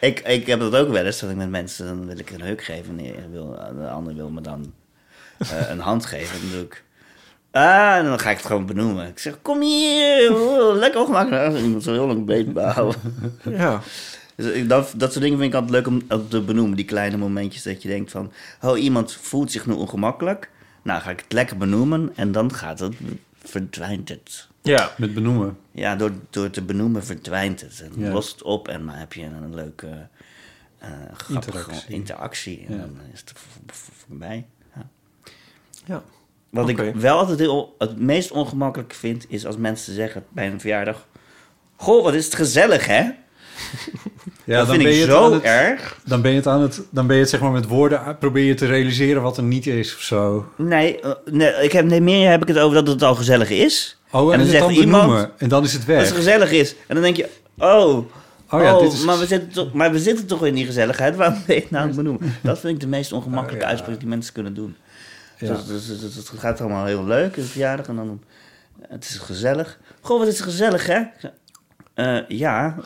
ik, ik heb dat ook wel eens. Dat ik met mensen, dan wil ik een heuk geven. En die wil, de ander wil me dan eh, een hand geven. En dan doe ik... Ah, en dan ga ik het gewoon benoemen. Ik zeg, kom hier, oh, lekker ongemakkelijk. En Iemand zo heel lang beet behouden.
ja.
Dus ik- dat, dat soort dingen vind ik altijd leuk om, om te benoemen. Die kleine momentjes dat je denkt van... Oh, iemand voelt zich nu ongemakkelijk. Nou, ga ik het lekker benoemen. En dan gaat het, verdwijnt het.
Ja.
Met benoemen.
Ja, door, door te benoemen verdwijnt het. En
Ja.
lost het op en dan heb je een leuke, eh, grappige
Interactie.
interactie. En
Ja.
dan is het v- v- voorbij. Ja.
ja.
Wat ik
Oké.
wel altijd heel, het meest ongemakkelijk vind, is als mensen zeggen bij een verjaardag... Goh, wat is het gezellig, hè?
Ja,
dat vind
ben
ik
je het
zo
aan het-
erg.
Dan ben je het aan het, dan ben je het zeg maar met woorden aan- probeer je te realiseren wat er niet is of zo.
Nee, eh, nee, ik heb, nee, meer heb ik het over dat het al gezellig is.
Oh, en,
dan
het
zegt
dan
iemand
benoemen. En dan is het
dat het
weg.
gezellig is. En dan denk je, oh, oh,
Oh ja, dit is-
maar, we zitten toch, maar we zitten toch in die gezelligheid. Waarom ben je het nou aan het
*laughs*
benoemen? Dat vind ik de meest ongemakkelijke
Oh, ja.
uitspraak die mensen kunnen doen.
Ja.
Dus, dus- dus- dus het gaat allemaal heel leuk, een verjaardag. En dan, het is gezellig. Goh, wat is het gezellig, hè? Ik zeg, eh, ja,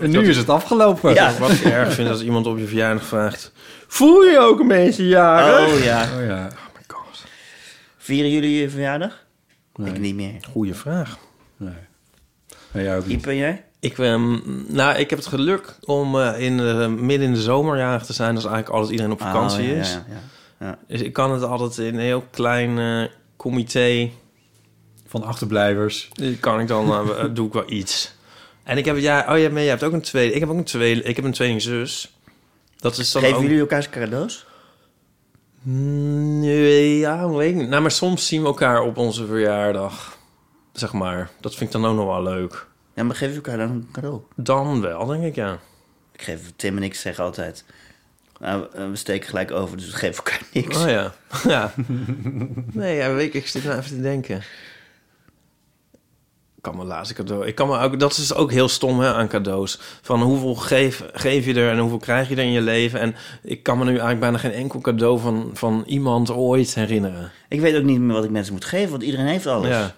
En nu is het afgelopen.
Ja.
Wat ik erg vind als iemand op je verjaardag vraagt... Voel je ook een beetje jarig?
oh ja.
Oh ja.
Oh my god.
Vieren jullie je verjaardag?
Nee.
Ik niet meer.
Goeie vraag.
Nee. Nee, jij ook niet.
Iep en jij?
Ik, ehm, nou, ik heb het geluk om eh, in, de- midden in de zomer jarig te zijn. Dat is eigenlijk alles iedereen op vakantie
Oh, ja,
is.
ja, ja.
Dus ik kan het altijd in een heel klein eh, comité.
Van achterblijvers.
eh, Kan ik dan, eh,
*laughs*
eh, doe ik wel iets. En ik heb, ja, oh ja, maar jij hebt ook een tweede. Ik heb ook een tweede. Ik heb een tweelingzus. Dat is dan
Geven
ook...
jullie elkaar cadeaus?
Mm, nee, ja, weet ik niet. Nou, maar soms zien we elkaar op onze verjaardag. Zeg maar. Dat vind ik dan ook nog wel leuk.
Ja, maar geven jullie elkaar dan een cadeau?
Dan wel, denk ik, ja.
Ik geef Tim en ik zeggen altijd. nou, eh, we steken gelijk over, dus we geven elkaar *laughs* niks.
Oh ja. *laughs* ja. Nee, ja, weet ik, ik zit nou even te denken. Ik kan me laatste cadeau. Ik kan me ook, dat is ook heel stom hè, aan cadeaus. Van hoeveel geef, geef je er en hoeveel krijg je er in je leven. En ik kan me nu eigenlijk bijna geen enkel cadeau van, van iemand ooit herinneren.
Ik weet ook niet meer wat ik mensen moet geven, want iedereen heeft alles.
Ja.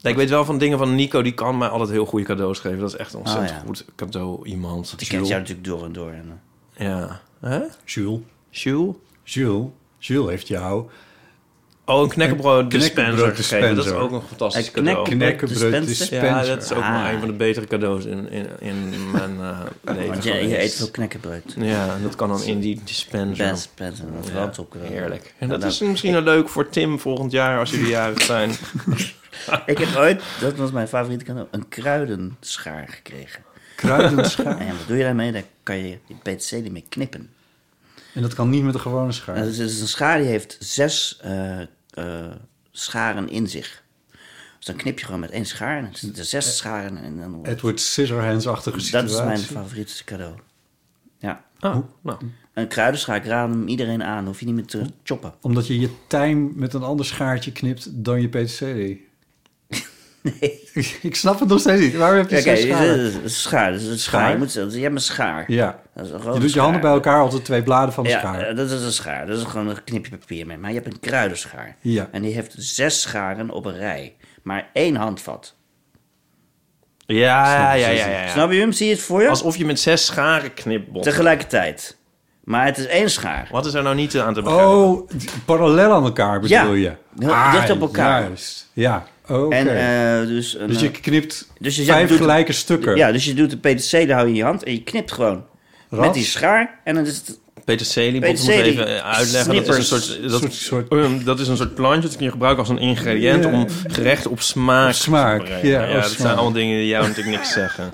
Nee, ik weet wel van dingen van Nico, die kan mij altijd heel goede cadeaus geven. Dat is echt een ontzettend
ja.
goed cadeau iemand.
Ik ken jou
Jules.
natuurlijk door en door. En, eh,
Ja. Hè?
Jules.
Jules?
Jules. Jules heeft jou
Oh, een knekkenbrood dispenser
knekkenbrood
gegeven. Dat is
dispenser.
ook een fantastisch
Een knek-
cadeau.
knekkenbrood
Dispenser?
dispenser.
Ja, dat is ook
Ah.
wel een van de betere cadeaus in, in, in mijn eh, leven
*laughs* want jij je eet
geweest.
veel knekkenbreud.
Ja, en dat kan dan in die dispenser.
Best, best, en dat
Ja,
brandt op. eh.
heerlijk.
Ja,
En dat
nou,
is misschien wel leuk voor Tim volgend jaar als jullie jarig
*laughs*
zijn.
*laughs*
Oh,
Ik heb ooit, dat was mijn favoriete cadeau, een kruidenschaar
*laughs*
gekregen.
Kruidenschaar.
En wat doe je daarmee? Daar kan je je PTC niet mee knippen.
En dat kan niet met een gewone
Nou,
schaar.
dus het is een schaar die heeft zes eh, eh, scharen in eh, zich. Dus dan knip je gewoon met één schaar. En het zitten er
Eh,
zes scharen. En dan wordt-
Edward Scissorhands-achtige
dat is
situatie.
mijn favoriete cadeau. Ja.
Ah, nou.
Een kruidenschaar, ik raad hem iedereen aan. Hoef je niet meer te choppen.
Omdat je je tijm met een ander schaartje knipt dan je PTCD.
*laughs* Nee.
ik snap het nog steeds niet. Waarom heb je
Kijk,
zes
kijk, dit
scharen?
is een schaar. Dit is een schaar. Je, moet, je hebt een schaar.
Ja.
Dat is een
Je
grote
doet je handen bij
schaar.
elkaar als de twee bladen van de
ja,
schaar.
eh, dat is een schaar. Dat is gewoon een knipje papier mee. Maar je hebt een kruidenschaar.
Ja.
En die heeft zes scharen op een rij. Maar één handvat.
Ja, ja, ja, ja, ja.
Snap je hem? Zie je het voor je?
Alsof je met zes scharen knipbot.
Tegelijkertijd. Maar het is één schaar.
Wat is er nou niet aan te begrijpen?
Oh, d- parallel aan elkaar bedoel
Ja,
je? Ah,
heel dicht op elkaar.
Juist. Ja, oké.
En eh, dus... Een,
dus je
eh,
knipt
dus je
vijf
doet-
gelijke stukken.
Ja, dus je doet de PTC, daar hou je in je hand en je knipt gewoon. Met
Rats.
die schaar en dan is het...
Peter Celi, Peter moet
Celi,
even eh, uitleggen. Dat is, een
snippers.
soort, dat,
Soort- soort-
ehm, dat is een soort plantje. Dat kun je gebruiken als een ingrediënt
Ja.
om gerecht op smaak,
Op smaak,
te brengen.
ja,
ja,
op
dat zijn
smaak.
allemaal dingen die jou natuurlijk niks
*laughs*
zeggen.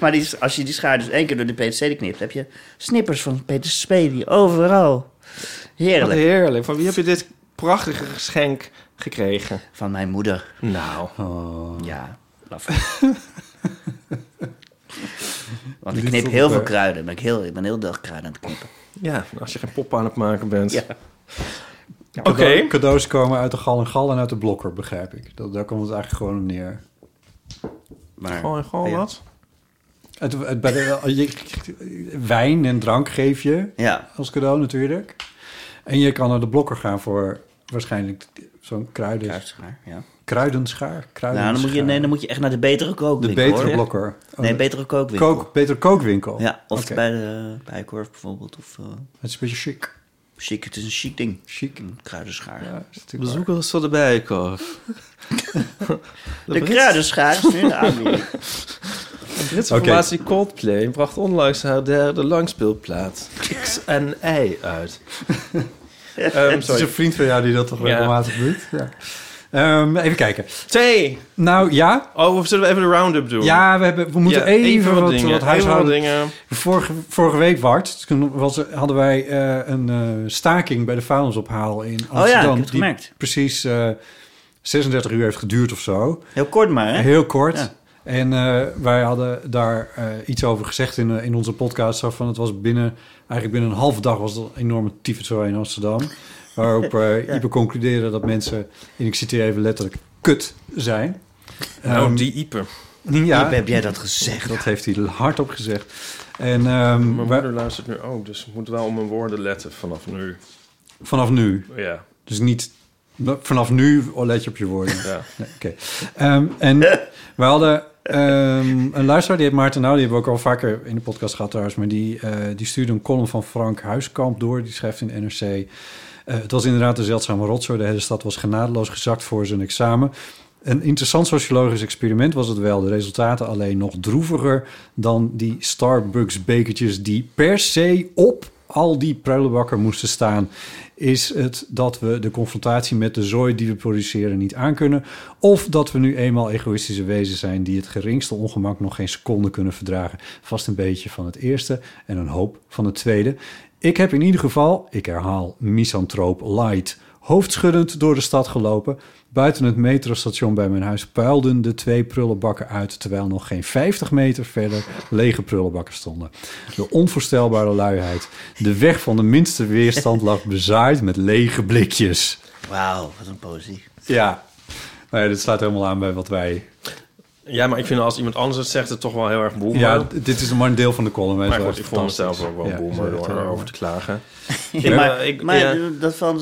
Maar die, als je die schaar dus één keer door de PTC knipt, heb je snippers van PTC die overal.
Wat
Heerlijk.
heerlijk. Van wie heb je dit prachtige geschenk gekregen?
Van mijn moeder.
Nou,
Oh.
Ja,
*laughs*
laf. Want ik
Dit
knip
vond
heel
ik,
veel
eh,
kruiden. Ben ik, heel, ik ben heel dag kruiden aan het knippen.
ja, als je geen pop aan het maken bent.
Ja.
Oké.
Cadeau- Cadeaus komen uit de gal en gal en uit de blokker, begrijp ik. Dat, daar komt het eigenlijk gewoon op neer.
Maar,
Gewoon, gewoon
Ja.
wat?
Het, het- bij de, je- wijn en drank geef je
Ja,
als cadeau natuurlijk. En je kan naar de blokker gaan voor waarschijnlijk zo'n kruiden,
kruidschaar, ja.
kruidenschaar.
Nou, dan moet, je, nee, dan moet je echt naar de betere
de
kookwinkel.
betere
hoor.
blokker. Oh,
Nee, betere kookwinkel.
Kook, betere kookwinkel.
Ja, of
Oké.
bij de Bijenkorf bijvoorbeeld. Of, eh
Het is een beetje chic.
chic, het is een chic ding.
Chic.
Een kruidenschaar.
Ja, is natuurlijk waar.
Bezoek ons tot de bijenkorf.
De kruidenschaar is *laughs* nu in aanbieding.
Britse
Oké.
formatie Coldplay bracht onlangs haar derde langspeelplaat X&I *laughs* uit. Ehm,
Het is een
sorry.
vriend van jou die dat toch
Ja.
regelmatig doet. Ja. Ehm, even kijken.
Twee.
Nou ja,
Oh, of zullen we even de round-up doen?
ja we, hebben, we moeten
Ja,
even, wat,
dingen,
wat
even
huishouden.
dingen.
Vorige, vorige week, Bart, toen was, er- hadden wij eh, een eh, staking bij de vuilnisophaal in Amsterdam.
Oh ik heb het
die
gemerkt.
precies eh, 36 uur heeft geduurd of zo.
Heel kort maar, hè?
Heel kort.
Ja.
En eh, wij hadden daar eh, iets over gezegd in, eh, in onze podcast. Zo van, het was binnen, eigenlijk binnen een halve dag was het een enorme tyfuszooi in Amsterdam. Waarop
*laughs*
eh Ipe concludeerde dat mensen, en ik citeer even letterlijk, kut zijn.
nou,
Ehm,
die Ieper.
ja,
Iep, heb jij dat gezegd?
dat heeft hij hardop gezegd. En ehm,
Mijn
wij-
moeder luistert nu ook, dus ik moet wel op mijn woorden letten vanaf nu.
vanaf nu,
Ja,
Dus niet vanaf nu let je op je woorden.
ja.
Nee, oké. Ehm, en we hadden ehm, een luisteraar, die heet Maarten Nou, die hebben we ook al vaker in de podcast gehad trouwens, maar die, eh, die stuurde een column van Frank Huiskamp door, die schrijft in NRC. eh, het was inderdaad een zeldzame rotzooi. De hele stad was genadeloos gezakt voor zijn examen. Een interessant sociologisch experiment was het wel. De resultaten alleen nog droeviger dan die Starbucks-bekertjes die per se op al die prullenbakken moesten staan. Is het dat we de confrontatie met de zooi die we produceren niet aankunnen? Of dat we nu eenmaal egoïstische wezens zijn die het geringste ongemak nog geen seconde kunnen verdragen? Vast een beetje van het eerste en een hoop van het tweede. Ik heb in ieder geval, ik herhaal, misantroop light hoofdschuddend door de stad gelopen. Buiten het metrostation bij mijn huis puilden de twee prullenbakken uit... terwijl nog geen 50 meter verder lege prullenbakken stonden. De onvoorstelbare luiheid. De weg van de minste weerstand lag bezaaid met lege blikjes.
Wauw, wat een poëzie.
Ja, nou ja dit slaat helemaal aan bij wat wij...
ja, maar ik vind als iemand anders het zegt, het toch wel heel erg boemer.
Ja, d- dit is maar een deel van de column. hè,
maar
zo
goed,
is
ik
het
vond
fantastisch.
mezelf ook wel
Ja, zo
boemer
is het
door
helemaal.
erover te klagen.
Ja, maar
ik-
maar
ja.
dat van...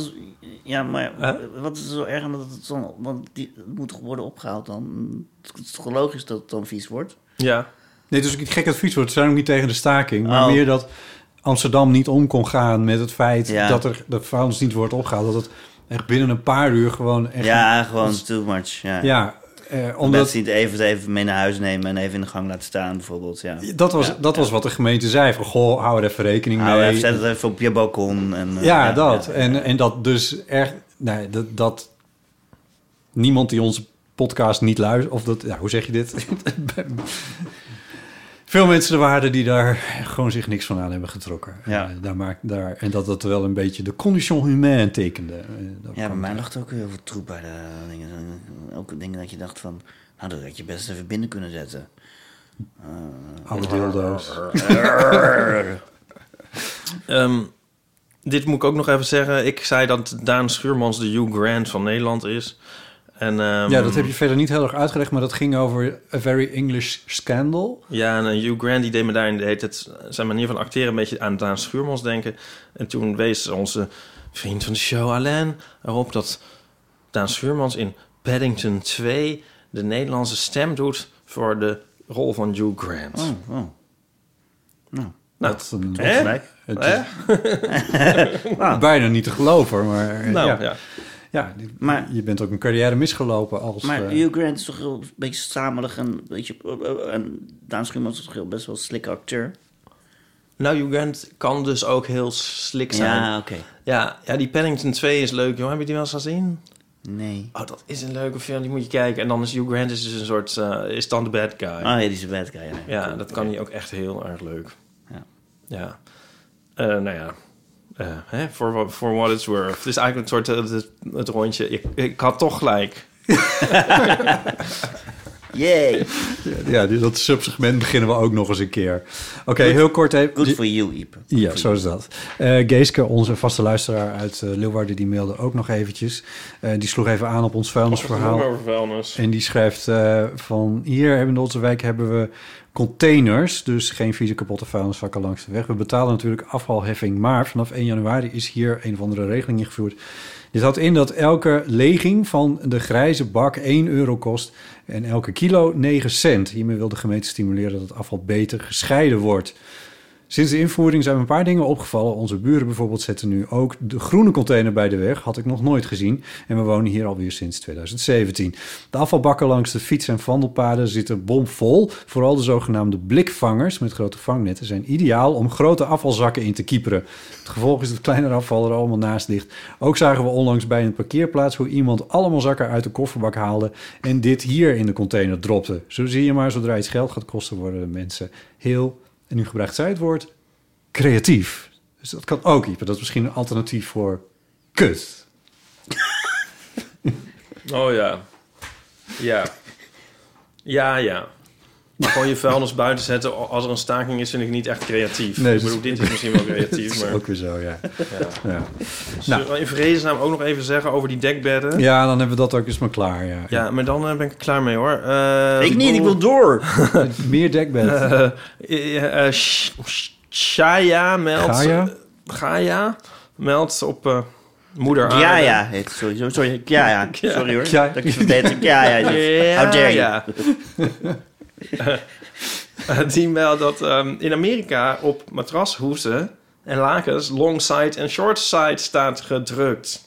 Ja, maar wat is er zo erg aan dat het dan... Want die het moet toch worden opgehaald dan? Het is toch logisch dat het dan vies wordt?
Ja,
Nee, dus ik gek advies wordt. Ze zijn ook niet tegen de staking. Maar
Oh.
meer dat Amsterdam niet om kon gaan met het feit
Ja.
dat er de vuilnis niet wordt opgehaald. Dat het echt binnen een paar uur gewoon echt.
ja, gewoon too much. Ja.
ja eh,
Omdat...
omdat.
Mensen niet even, even mee naar huis nemen en even in de gang laten staan, bijvoorbeeld. Ja.
Dat was, dat was wat de gemeente zei. Van, goh, hou er even rekening
Hou
mee.
even, zet het even op je balkon. En, eh,
ja, dat.
ja.
En, en dat dus echt... Nee, dat, dat niemand die onze podcast niet luistert... Of dat... Ja, hoe zeg je dit? veel mensen er waren die daar gewoon zich niks van aan hebben getrokken.
Ja.
Eh, daar maakt, daar, en dat dat wel een beetje de condition humaine tekende. Eh, dat
Ja, bij
kwam-
mij lag er ook heel veel troep bij de eh, dingen. Ook dingen dat je dacht van, nou dat had je best even binnen kunnen zetten. Eh,
Oude dildo's.
*laughs* Ehm, dit moet ik ook nog even zeggen. Ik zei dat Daan Schuurmans de Hugh Grant van Nederland is. En, ehm,
Ja, dat heb je verder niet heel erg uitgelegd, maar dat ging over A Very English Scandal.
Ja, en eh, Hugh Grant die deed me daarin de hele tijd eh, zijn manier van acteren een beetje aan Daan Schuurmans denken. En toen wees onze vriend van de show Alain erop dat Daan Schuurmans in Paddington 2 de Nederlandse stem doet voor de rol van Hugh Grant.
Oh, oh.
Nou,
Dat is een-
hè?
gelijk.
het
Hè?
is *laughs* bijna niet te geloven, maar eh,
Nou,
ja.
ja.
Ja, die-
Maar-
je bent ook een carrière misgelopen als...
Maar
eh,
Hugh Grant is toch heel een beetje stamelig en een beetje... eh, En Daan Schuurmans is toch heel best wel een slikke acteur?
Nou, Hugh Grant kan dus ook heel slik zijn.
Ja,
Ja,
oké.
ja, die Paddington 2 is leuk, joh. Heb je die wel eens gezien?
Nee.
Oh, dat is een leuke film, die moet je kijken. En dan is Hugh Grant is dus een soort, eh, is dan de bad guy.
Ah ja, die is een bad guy. Ja,
Ja, dat kan hij ook echt heel erg leuk.
Ja.
Ja. Eh, nou ja. Eh, hè, voor what- voor what it's worth. Het is eigenlijk een soort eh, het, het rondje. Ik, ik had toch gelijk.
Yay!
Ja, dus dat subsegment beginnen we ook nog eens een keer. Oké, heel kort even...
Good for you, Iep.
Ja, zo is dat. Eh, Geeske, onze vaste luisteraar uit eh, Leeuwarden, die mailde ook nog eventjes. Eh, die sloeg even aan op ons vuilnisverhaal.
Over vuilnis.
En die schrijft eh, van hier hebben in onze wijk hebben we containers, dus geen vieze kapotte vuilnisvakken langs de weg. We betalen natuurlijk afvalheffing, maar vanaf 1 januari is hier een of andere regeling ingevoerd. Dit houdt in dat elke leging van de grijze bak 1 euro kost en elke kilo 9 cent. Hiermee wil de gemeente stimuleren dat het afval beter gescheiden wordt. Sinds de invoering zijn me een paar dingen opgevallen. Onze buren bijvoorbeeld zetten nu ook de groene container bij de weg. Had ik nog nooit gezien. En we wonen hier alweer sinds 2017. De afvalbakken langs de fiets- en wandelpaden zitten bomvol. Vooral de zogenaamde blikvangers met grote vangnetten zijn ideaal om grote afvalzakken in te kieperen. Het gevolg is dat kleinere afval er allemaal naast ligt. Ook zagen we onlangs bij een parkeerplaats hoe iemand allemaal zakken uit de kofferbak haalde en dit hier in de container dropte. Zo zie je maar, zodra iets geld gaat kosten, worden de mensen heel en nu gebruikt zij het woord creatief. Dus dat kan ook, Ieper. Dat is misschien een alternatief voor kut.
Oh ja. Ja. Ja, ja. Maar gewoon je vuilnis buiten zetten als er een staking is, vind ik niet echt creatief.
Nee,
ik
dat-
bedoel, dit is misschien
*laughs*
wel
Dat
creatief,
is
maar...
ook weer zo, ja.
Ja.
ja. Nou.
Zullen we in vredesnaam ook nog even zeggen over die dekbedden?
Ja, dan hebben we dat ook eens maar klaar, ja.
Ja, maar dan eh, ben ik er klaar mee, hoor. Eh,
ik niet, ik wil door!
Meer dekbed.
Eh, eh, eh, Sh- Sh- Shaya meldt...
Gaia?
Gaia meldt op eh, moeder aarde.
Ja, ja, heet het sowieso. Sorry, ja, ja. Sorry hoor.
Ja.
Dat ik het verbeter. Ja, ja.
Ja,
How dare you.
ja. Eh, Die meldt dat ehm, in Amerika op matrashoezen en lakens long side en short side staat gedrukt.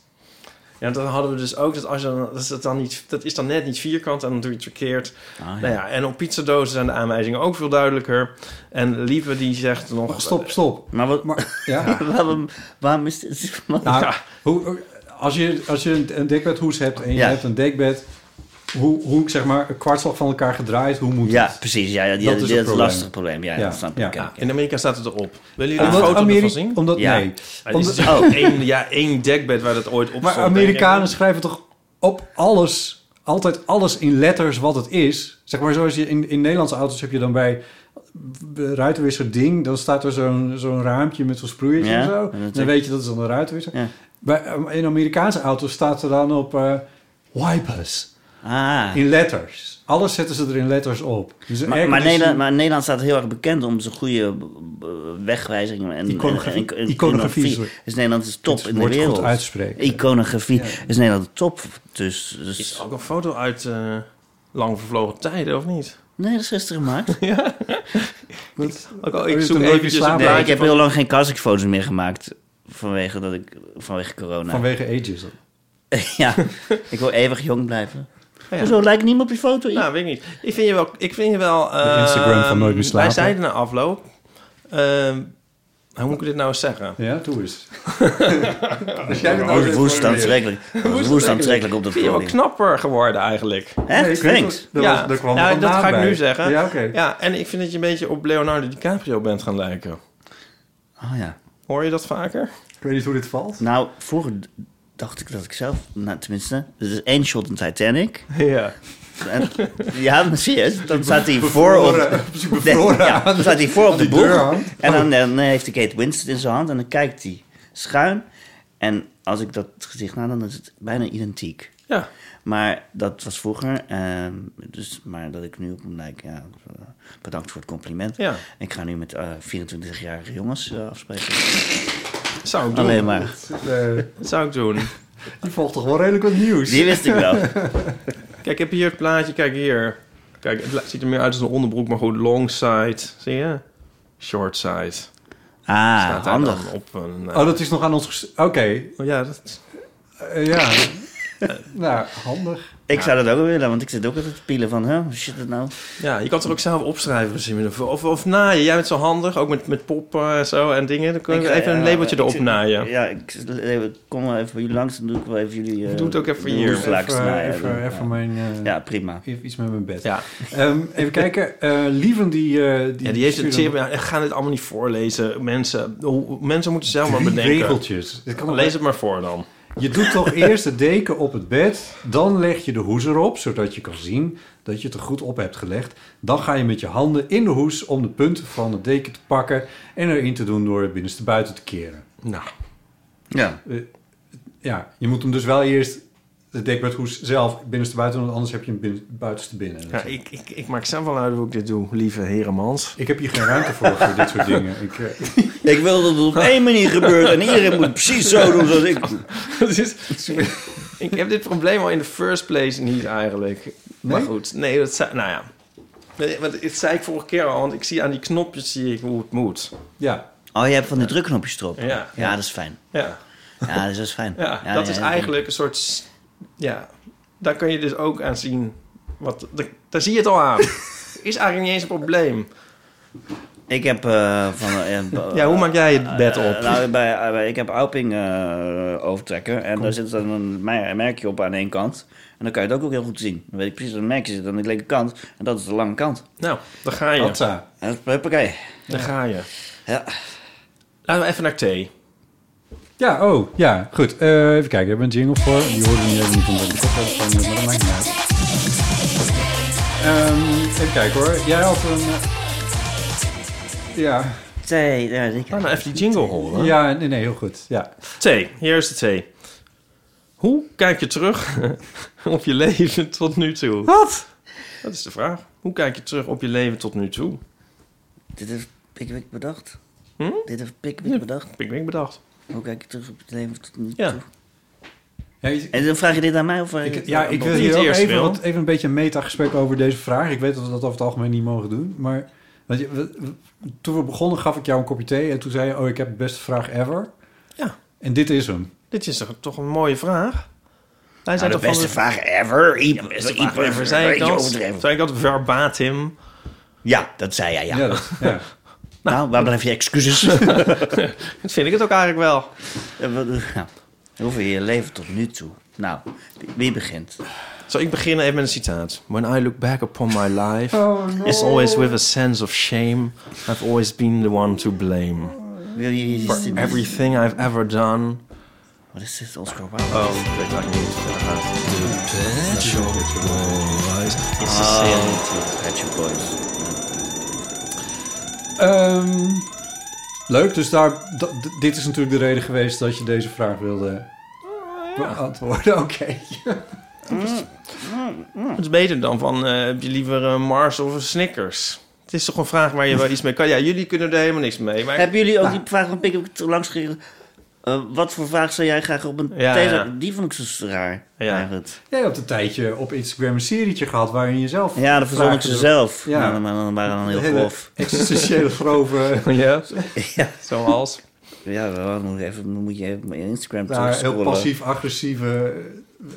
Ja, dan hadden we dus ook dat als je dan, dat is dat dan niet, dat is dan net niet vierkant en dan doe je het verkeerd.
Ah,
Nou ja, en op pizzadozen zijn de aanwijzingen ook veel duidelijker. En Lieve die zegt nog...
Oh, Stop, stop.
Maar wat...
Maar, ja.
*laughs* waarom, waarom is dit... *laughs*
Nou,
Ja.
hoe, als, je, als je een- een dekbedhoes hebt en je
Ja.
hebt een dekbed... Hoe, hoe, zeg maar, een kwartslag van elkaar gedraaid, hoe moet
Ja,
het?
precies. Ja, ja, die,
Dat
dat
is
is,
het
een
probleem.
lastig probleem. Ja,
Ja,
dat snap ik.
ja.
oké,
Ja,
oké.
in Amerika staat het erop. Willen jullie een
Omdat
foto
Ameri-
ervan zien?
Omdat,
Ja.
nee.
Ja, dit is
Omdat,
natuurlijk ook één, ja, één dekbed waar dat ooit op
Maar
stond,
Amerikanen
denk ik.
schrijven toch op alles, altijd alles in letters wat het is. Zeg maar zoals je in, in Nederlandse auto's heb je dan bij eh, ruitenwisser ding, dan staat er zo'n zo'n raampje met zo'n sproeiertje
Ja,
en zo.
en dat
dan
ik-
weet je dat is dan een ruitenwisser.
Ja.
Bij, eh, in Amerikaanse auto's staat er dan op eh, wipers
Ah.
in letters. Alles zetten ze er in letters op. Dus een
Maar, maar,
airconditioning-
Nederland, maar Nederland staat heel erg bekend om zijn goede eh, wegwijzingen. En,
Iconografie.
en- en- en-
Iconografie, sorry.
Dus Nederland is top
Het
in de
woord goed
wereld.
uitspreken.
Iconografie is Nederland top. Dus,
Er is
dus,
ook een foto uit eh, lang vervlogen tijden, of niet?
nee, dat is gisteren gemaakt.
Oh,
Ook al,
je
ik
hebt
zoek
hem nooit
eventjes
meer
een
slapen.
plaatje
Nee, ik heb
van-
heel lang geen kassikfoto's meer gemaakt. Vanwege, dat ik, vanwege corona.
Vanwege ages.
*laughs* ja, ik wil eeuwig jong blijven.
Oh Ja.
Hoezo lijkt niemand op die foto? Iep?
Nou, weet ik niet. Ik vind je wel... Ik vind je wel
Instagram van
ehm,
Nooit meer slapen.
Wij zeiden na afloop... ehm, Hoe moet ik dit nou eens zeggen?
Ja, doe eens.
Oh,
nou,
Woest- Woest
*laughs*
aantrekkelijk. Woest aantrekkelijk op dat
Vind je wel
podium.
knapper geworden eigenlijk.
Hè? Thanks.
ja, ja dat ga ik nu zeggen.
Ja, oké.
Ja, en ik vind dat je een beetje op Leonardo DiCaprio bent gaan lijken.
Oh ja.
Hoor je dat vaker?
Ik weet niet hoe dit valt.
Nou, vroeger d- dacht ik dat ik zelf... Nou, tenminste, er is één shot in Titanic.
*laughs* Ja.
En, ja, maar serieus. Dan staat hij voor op... Nee, ja, dan staat hij voor op de
die deur
boeg.
hangt.
En dan, eh, dan heeft hij Kate Winslet in zijn hand. En dan kijkt hij schuin. En als ik dat gezicht na, dan is het bijna identiek.
Ja.
Maar dat was vroeger. ehm, dus, maar dat ik nu op hem lijk, ja, eh, bedankt voor het compliment.
Ja.
Ik ga nu met eh, 24-jarige jongens eh, afspreken.
Zou ik doen.
Alleen maar.
Eh,
Dat zou ik doen.
die volgt toch wel redelijk wat nieuws.
Die wist ik wel.
Kijk, ik heb hier het plaatje. Kijk hier. Kijk, het la- ziet er meer uit als een onderbroek, maar goed, long side. Zie je? Short side.
Ah,
hij dan
handig.
op een... eh,
Oh, dat is nog aan ons... ges- Oké,
oh, ja, dat,
eh, ja.
*laughs*
nou, handig.
Ik zou dat ook wel willen, want ik zit ook altijd te pielen van, hè, hoe zit het nou?
ja, je kan het er ook zelf opschrijven. Simon. Of, of, of naaien. Jij bent zo handig, ook met, met poppen en zo en dingen. Dan kun je
Ik,
even een
eh,
labeltje
ik
erop
zit-
naaien.
Ja, ik ik kom wel even bij jullie langs, dan doe ik wel even jullie... eh,
Doe het ook even eh,
de
hier.
hoerenvlak
Even, eh,
snijden.
even, even mijn... eh,
Ja, prima.
even Iets met mijn bed.
Ja.
Ehm, even kijken. eh Lieven die... eh die,
Ja, die heeft
stuurde
het zeer... ja, Ga dit allemaal niet voorlezen. Mensen, hoe- mensen moeten zelf maar
drie
bedenken.
regeltjes. Dit kan nog
Lees het maar voor dan.
Je doet
*laughs*
toch eerst de deken op het bed, dan leg je de hoes erop, zodat je kan zien dat je het er goed op hebt gelegd. Dan ga je met je handen in de hoes om de punten van de deken te pakken en erin te doen door het binnenste buiten te keren.
Nou,
Ja.
Ja, je moet hem dus wel eerst de deken met hoes zelf binnenste buiten, want anders heb je hem binnen, buitenste binnen.
ja, ik, ik, ik maak zelf wel uit hoe ik dit doe, lieve heremans.
Ik heb hier geen ruimte voor voor dit
*laughs*
soort dingen. Ik, eh,
Ik wil dat het op één manier gebeurt en iedereen moet precies zo doen zoals ik doe.
*laughs* Dat is- ik heb dit probleem al in de first place niet eigenlijk. Maar goed, nee, dat zei, nou ja. Nee, want het zei ik vorige keer al, want ik zie aan die knopjes zie ik hoe het moet.
ja,
Oh, je hebt van die drukknopjes erop.
Ja.
ja, dat is fijn.
Ja,
Ja, dat is best fijn.
ja, dat is eigenlijk een soort... s- Ja, daar kun je dus ook aan zien. Wat, daar, daar zie je het al *laughs* aan. Is eigenlijk niet eens een probleem.
Ik heb eh, van... eh, b-
Ja, hoe maak jij het bed
eh,
op?
nou, bij, eh, bij- ik heb Auping eh, overtrekken en daar zit dan een mer- merkje op aan één kant. En dan kan je het ook, ook heel goed zien. Dan weet ik precies dat een merkje zit aan de linker kant en dat is de lange kant.
Nou, daar ga je.
Atta.
En dat is huppakee.
Daar ga je.
Ja.
Laten we even naar thee.
Ja, oh, ja, goed. Eh, even kijken, we hebben een jingle voor. Die hoorde niet even niet omdat ik de koptelefoon heb, eh, maar dat maakt niet uit. Ehm, even kijken hoor. Jij had een... eh, Ja,
Twee, ja, zeker.
Laten we even die jingle horen.
ja nee, nee, heel goed. Ja.
Thee, hier is de thee. Hoe kijk je terug *laughs* op je leven tot nu toe? Wat? Dat is de vraag. Hoe kijk je terug op je leven tot nu toe?
Dit heeft Pickwick bedacht.
Hm?
Dit heeft Pickwick bedacht.
Heb ik denk bedacht.
Hoe kijk je terug op het leven tot nu toe?
Ja.
Ja, ik,
En dan vraag je dit aan mij of... eh,
ik- ja, ik wil
Niet
hier ook
eerst,
even,
Wil.
wat, even een beetje een metagesprek over deze vraag. Ik weet dat we dat over het algemeen niet mogen doen, maar... want je, we- we- toen we begonnen gaf ik jou een kopje thee en toen zei je... Oh, ik heb de beste vraag ever.
Ja.
En dit is hem.
Dit is toch- toch een mooie vraag? Hij
Nou, de beste vraag ever. Iep,
Beste
iep,
vraag ever. Zei ik
beetje
dat?
overdreven.
Zei ik dat verbatim?
Ja, dat zei jij, ja.
dat, *laughs* ja.
Nou, waar blijf je
*laughs*
excuses?
Dat vind ik het ook eigenlijk wel.
Eh, wat, eh, nou, Hoe vind je je leven tot nu toe? Nou, wie- wie begint?
Zal ik beginnen even met een citaat? When I look back upon my life,
Oh, no.
it's always with a sense of shame. I've always been the one to blame.
Wil je
For
dit-
everything I've ever done,
Wat is dit, Oscar Wilde?
Oh, ik weet eigenlijk niet hoe het verder gaat. It's a
Ah.
sin.
Pet Shop Boys.
Ehm, leuk, dus daar, da- d- dit is natuurlijk de reden geweest dat je deze vraag wilde Oh, beantwoorden. *laughs* Oké.
Het is beter dan van, eh, heb je liever een Mars of een Snickers? Het is toch een vraag waar je wel iets mee kan. Ja, jullie kunnen er helemaal niks mee. Maar
Hebben jullie
Nou.
ook die vraag van Pick langs gekregen? Eh, wat voor vraag zou jij graag op een
Ja,
thee-
ja.
Die vond ik zo raar.
Ja.
eigenlijk.
Jij hebt een tijdje op Instagram een serietje gehad waarin je zelf...
ja dat verzon ik
vragen
ze zelf.
Ja.
Ja. Maar dan waren dan
door-
heel
hele
grof.
Existentiële grove...
ja,
Ja. *laughs*
zoals.
Ja, dan moet, ik even, dan moet je even mijn Instagram
daar heel
terugscrollen.
Nou, passief-agressieve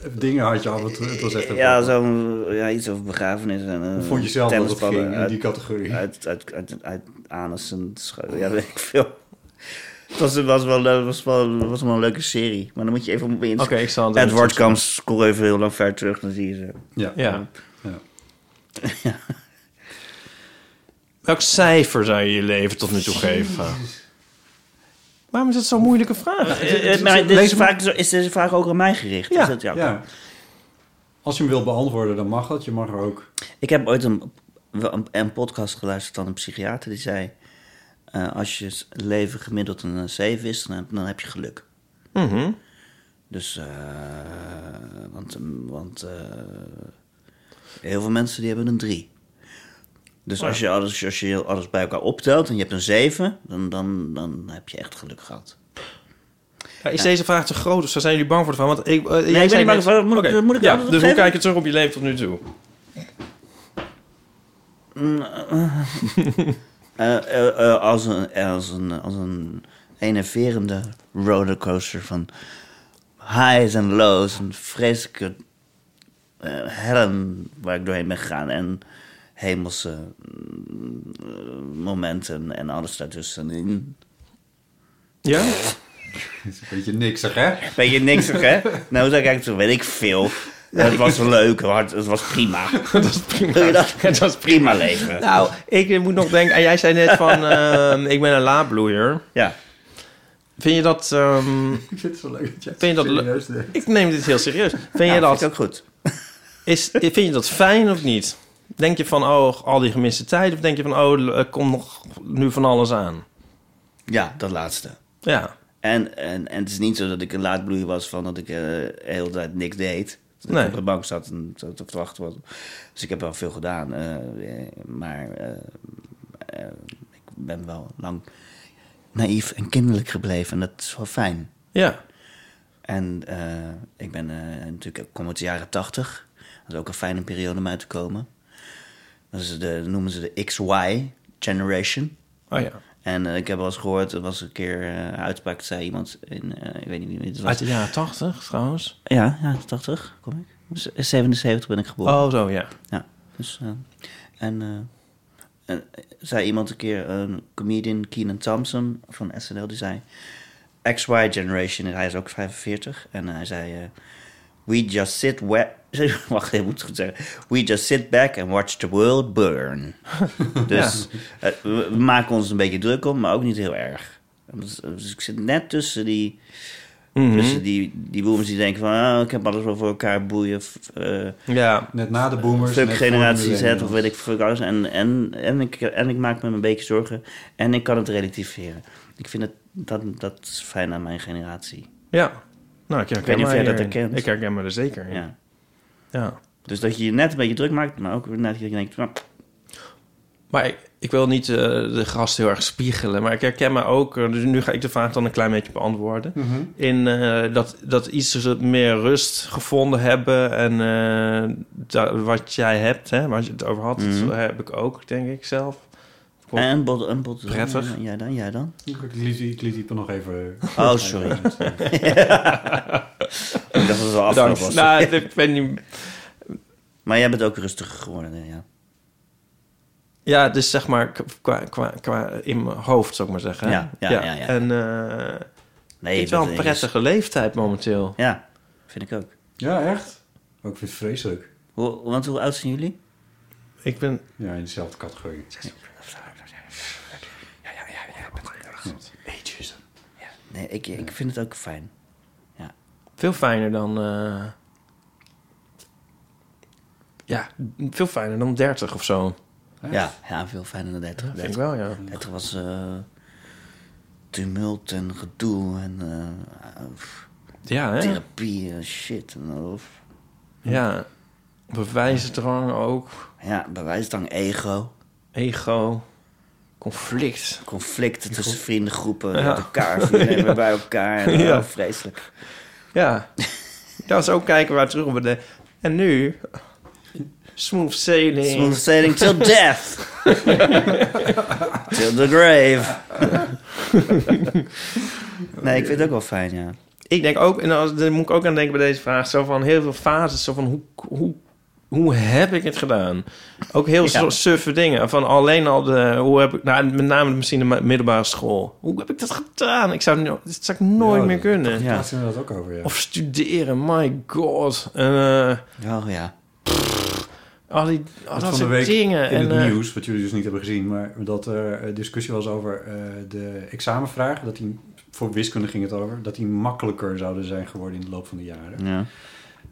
eh, dingen had je af en toe. Het was echt... een-
Ja, zo, ja, iets over begrafenis. En, eh,
Vond je zelf dat het
tennisballen
ging in
uit-
die categorie?
Uit, uit, uit, uit, anus en schu- Ja, weet ik veel. Het was, was, wel, leuk- was, wel, was wel een leuke serie. Maar dan moet je even op je
Oké, ik zal het even
Edward
opzoeken.
kan scroll even heel lang ver terug, dan zie je ze.
Ja.
Ja.
Ja.
Welk cijfer zou je je leven tot nu toe geven? Waarom is het zo'n moeilijke vraag?
Eh, eh, Maar dit is, vaak, zo- is deze vraag ook aan mij gericht?
Ja.
Is dat, ja.
Ja. Als je hem wilt beantwoorden, dan mag dat. Je mag er ook. *laughs*
Ik heb ooit een, wel een, een podcast geluisterd van een psychiater die zei... eh, als je s- leven gemiddeld een eh, 7 is, dan heb, dan heb je geluk.
Mhm.
Dus, eh, want, want eh, heel veel mensen die hebben een 3. Dus als, je alles, als je alles bij elkaar optelt en je hebt een 7, dan, dan, dan heb je echt geluk gehad.
Ja, is deze vraag te groot of zijn jullie bang voor de vraag? Want ik, eh, jij
ben
zei
niet bang
net-
voor. Moet ik-
Oké.
moet ik
ja,
antwoord
Dus hoe
geven?
kijk je terug op je leven tot nu toe?
Eh, eh, eh, als, een, als, een, als een enerverende rollercoaster van highs en lows. Een vreselijke eh hellen waar ik doorheen ben gegaan. En hemelse mm, eh, momenten en alles daartussenin.
Ja?
Het is een beetje niksig, hè? *laughs*
Weet je niks, hè?
*laughs*
Nou, dan kijk ik zo, weet ik veel. Het was leuk, hard, het was
*laughs*
prima.
*laughs* dat is prima.
Wil je dat? *laughs* Het was prima leven.
Nou, ik moet nog denken... En jij zei net
*laughs*
van, ehm, ik ben een laadbloeier.
Ja.
Vind je dat... ehm,
Ik vind het zo leuk dat jij
Vind je dat le-
serieus denkt.
ik neem dit heel serieus. Vind,
Ja,
je
nou, vind ik
dat,
ook goed.
is, vind je dat fijn of niet? Denk je van, oh, al die gemiste tijd? Of denk je van, oh, er komt nog nu van alles aan?
Ja, dat laatste.
Ja.
En, en, en het is niet zo dat ik een laadbloeier was van dat ik eh de hele tijd niks deed. Dat
Nee.
ik op de bank zat en zat te wachten was. Dus ik heb wel veel gedaan. eh, eh, maar eh, eh, ik ben wel lang naïef en kinderlijk gebleven. En dat is wel fijn.
Ja.
En eh, ik ben eh, natuurlijk, ik kom uit de jaren tachtig. Dat is ook een fijne periode om uit te komen. Dat, is de, dat noemen ze de XY generation.
Oh ja.
En eh, ik heb wel eens gehoord, er was een keer eh, een uitspraak, zei iemand in, eh, ik weet niet wie het was.
Uit de jaren tachtig, trouwens.
Ja, ja, 80 kom ik. Dus 77 ben ik geboren.
Oh, zo, ja.
Ja, dus, eh, en, eh, en, eh, zei iemand een keer, een comedian Keenan Thompson van SNL, die zei... XY Generation, en hij is ook 45. En hij zei... eh, We *laughs* just sit... wa- Wacht, ik moet het goed zeggen. We just sit back and watch the world burn. dus eh, we we maken ons een beetje druk om, maar ook niet heel erg. Dus, dus ik zit net tussen die...
Mhm.
Tussen die, die boomers die denken van... ah, ik heb alles wel voor elkaar, boeien... f- eh,
Ja.
Net na de boomers.
Fuck
net
generatie
voor de
Z of
millennials.
weet ik fuck alles. En, en, en, ik, en ik maak me een beetje zorgen. En ik kan het relativeren. Ik vind het, dat, dat is fijn aan mijn generatie.
Ja. Nou, ik herken
weet niet of
mij
jij dat
hierin.
herkent.
Ik herken me er zeker in.
Ja.
ja.
Dus dat je je net een beetje druk maakt, maar ook net dat je denkt... nou,
Maar ik, ik wil niet eh, de gast heel erg spiegelen. Maar ik herken me ook... eh, dus nu ga ik de vraag dan een klein beetje beantwoorden. In eh, dat, dat iets meer rust gevonden hebben. En eh, da- wat jij hebt, hè, waar je het over had...
Mhm.
Dat heb ik ook, denk ik zelf. Kom.
en een bot, een bot.
Prettig.
Ja, dan, jij dan.
Ik liet, ik liet die nog even...
Oh, sorry. ik dacht dat het al afgelopen was.
Bedankt. Nou, *laughs* ik ben niet...
Maar jij bent ook rustiger geworden, hè, ja.
Ja, dus zeg maar k- qua, qua, qua in mijn hoofd, zou ik maar zeggen. hè?
Ja, ja, ja, ja.
En eh
Nee,
het is wel
dat
een prettige leeftijd momenteel.
Ja, vind ik ook.
*laughs* Ja, echt? Ook ik vind het vreselijk.
Hoe, want hoe oud zijn jullie?
Ik ben...
Ja, in dezelfde categorie.
Nee, ik, ik vind het ook fijn.
Veel fijner dan. eh, ja, veel fijner dan 30 of zo.
Ja, ja, veel fijner dan 30.
Vind ik wel, ja.
Het was eh, tumult en gedoe en eh, pff,
Ja, hè?
therapie en shit. En, eh, al.
Ja. Bewijsdrang ook.
ja, bewijsdrang, ego,
Ego. Conflict.
conflicten tussen vriendengroepen,
Ja.
met elkaar, vrienden en weer bij elkaar. En,
Ja.
oh, vreselijk.
*laughs* Ja. Dat is ook kijken waar terug op de. En nu. Smooth sailing.
Smooth sailing till
*laughs*
death. till the grave. nee, ik vind het ook wel fijn, ja.
Ik denk ook, en als, daar moet ik ook aan denken bij deze vraag, zo van heel veel fases, zo van hoe, hoe hoe heb ik het gedaan? Ook heel soort suffe dingen. Van alleen al de... Hoe heb ik, nou, met name misschien de ma- middelbare school. Hoe heb ik dat gedaan? Ik zou, het no- dat zou ik nooit
Ja,
meer
dat-
kunnen.
Daar gaat het ook over, ja.
Of studeren, my god. En, eh,
Oh ja.
al die al
Want
dat
van de
soort
week
dingen.
in
en,
het
eh,
nieuws, wat jullie dus niet hebben gezien, maar dat er eh, discussie was over eh, de examenvraag. Dat die, voor wiskunde ging het over, dat die makkelijker zouden zijn geworden in de loop van de jaren.
Mm.
ja.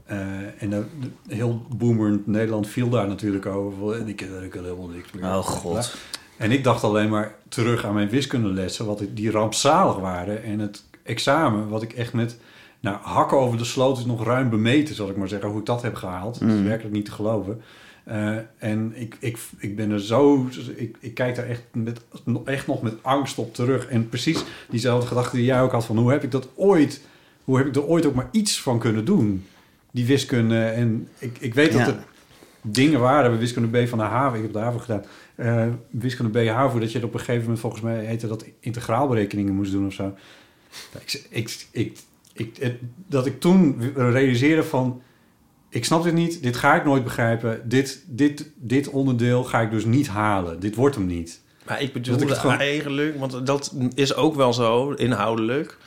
Eh, en dat- de- heel boomerend Nederland viel daar natuurlijk over. "Eh, En ik, ik had helemaal niks meer.
Oh god.
En ik dacht alleen maar terug aan mijn wiskundelessen, wat ik- die rampzalig waren. En het examen, wat ik echt met nou, hakken over de sloot is nog ruim bemeten, zal ik maar zeggen, hoe ik dat heb gehaald. Dat is werkelijk niet te geloven. Eh, en ik, ik, ik ben er zo, ik, ik kijk daar echt, met, echt nog met angst op terug. En precies diezelfde gedachte die jij ook had van hoe heb ik dat ooit, hoe heb ik er ooit ook maar iets van kunnen doen? Die wiskunde en ik, ik weet dat
Ja.
het dingen waren. bij Wiskunde B van de HAVO. Ik heb de HAVO gedaan. Eh, wiskunde B HAVO, dat je het op een gegeven moment volgens mij heette dat integraalberekeningen moest doen of zo. Ja, Ik, ik, ik, ik, het- dat ik toen realiseerde van... Ik snap dit niet, dit ga ik nooit begrijpen. Dit, dit, dit onderdeel ga ik dus niet halen. Dit wordt hem niet.
Maar ik
Dat
bedoel
ik het gewoon-
eigenlijk, want dat is ook wel zo inhoudelijk.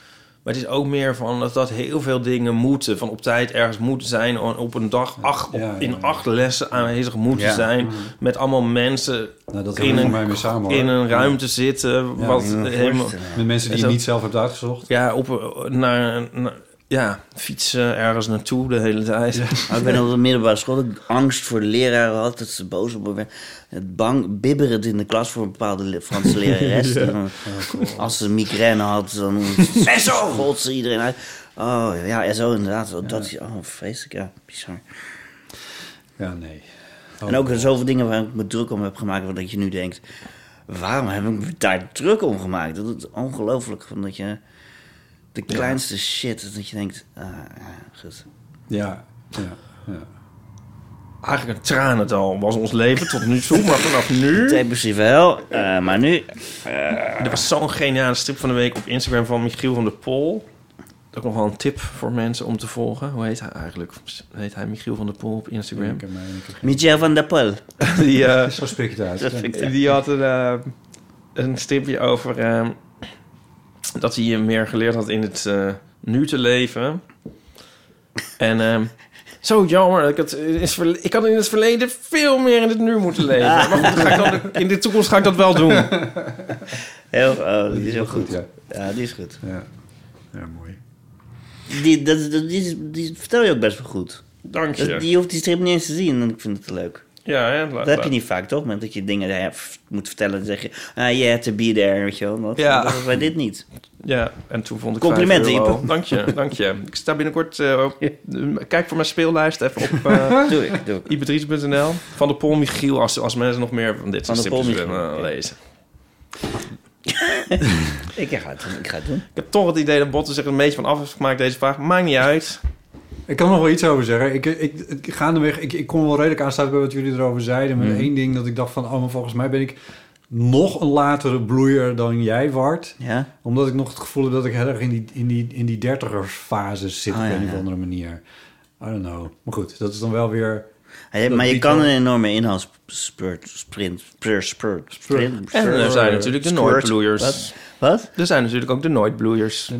Maar het is ook meer van dat, dat heel veel dingen moeten. Van op tijd ergens moeten zijn. on- Op een dag acht, op-
Ja, ja, ja.
in acht lessen aanwezig moeten
Ja.
zijn. Met allemaal mensen
Nou, dat
in
hing voor mij
een,
mee samen. hoor.
in een ruimte zitten. wat
Ik kan me
helemaal,
voorstellen.
Met mensen die
Zo.
je niet zelf hebt uitgezocht.
ja, op, naar, naar- ja, fietsen ergens naartoe de hele tijd.
Maar ik ben op de middelbare school dat ik angst voor de leraren had. Dat ze boos op me werden. Het Bang, bibberend in de klas voor een bepaalde le- Franse lerares. Die dan- Als ze migraine had, dan schold ze iedereen uit. Oh ja, ja zo inderdaad. Oh, Dat is, oh, vreselijk. Ja, bizar.
Ja, nee. Oh,
En ook zoveel dingen waar ik me druk om heb gemaakt, waarvan dat je nu denkt: waarom heb ik me daar druk om gemaakt? Dat is ongelooflijk, van dat je de kleinste shit, dat je denkt: ah, ja, goed.
Oh, Ja, ja, ja.
Eigenlijk een tranendal was ons leven tot nu toe. Maar vanaf
*laughs*
nu...
Depressief wel, eh, maar nu.
Er was zo'n geniale strip van de week op Instagram van Michiel van der Pol. Ook nog wel een tip voor mensen om te volgen. Hoe heet hij eigenlijk? Heet hij Michiel van der Pol op Instagram?
Ik heb mij- ik heb-
Michel van der Pol.
Die, eh,
Zo spreek je het
Dat
uit.
vind ik
die had een, eh, een stripje over eh, dat hij meer geleerd had in het eh, nu te leven. En ehm, zo jammer. dat Ik had, in het verle- ik had in het verleden veel meer in het nu moeten
*laughs*
leven. Maar goed, dat ga ik dan- in de toekomst ga ik dat wel doen.
heel, oh, die is heel
Goed,
goed.
ja.
Ja, die is goed.
Ja, ja mooi.
Die, dat, dat- die, is- die vertel je ook best wel goed.
Dank
Dat,
je.
die hoeft die strip niet eens te zien en ik vind het leuk.
Ja, hè, laat-
Dat heb je
laat-
niet vaak, toch? Met dat je dingen eh, f- moet vertellen, dan zeg je... Ah, you had to be there, weet je wel. Dat,
Ja.
dat was bij dit niet.
Ja, en toen vond ik
Complimenten,
5 euro.
Iep.
Dank je, dank je. Ik sta binnenkort... eh, op, kijk voor mijn speellijst even op eh
*laughs* Doe ik, doe ik.
ibedries.nl. Van de Pol Michiel, als, als mensen nog meer van dit
Van
soort
der Pol
tipjes willen
Michiel,
eh,
oké.
lezen.
Ik ga het doen, ik ga het doen.
Ik heb toch het idee dat Botten zich een beetje van af heeft gemaakt deze vraag. Maakt niet uit.
Ik kan nog wel iets over zeggen. Ik, ik, ik, gaandeweg, ik, ik kon wel redelijk aansluiten bij wat jullie erover zeiden.
Hmm.
Met één ding dat ik dacht van... Oh, maar volgens mij ben ik nog een latere bloeier dan jij, Wart.
Ja?
Omdat ik nog het gevoel heb dat ik heel erg in die, in die, in die dertigersfase zit.
Oh,
op
ja,
een of
ja.
andere manier. I don't know. Maar goed, dat is dan wel weer...
Hij-
Dat
maar je
biedt
kan
wel-
een enorme inhaalsprint... Sprint, spurt, spurt, sprint,
En er zijn natuurlijk de
squirt.
nooitbloeiers.
Wat? Wat?
Er zijn natuurlijk ook de nooitbloeiers.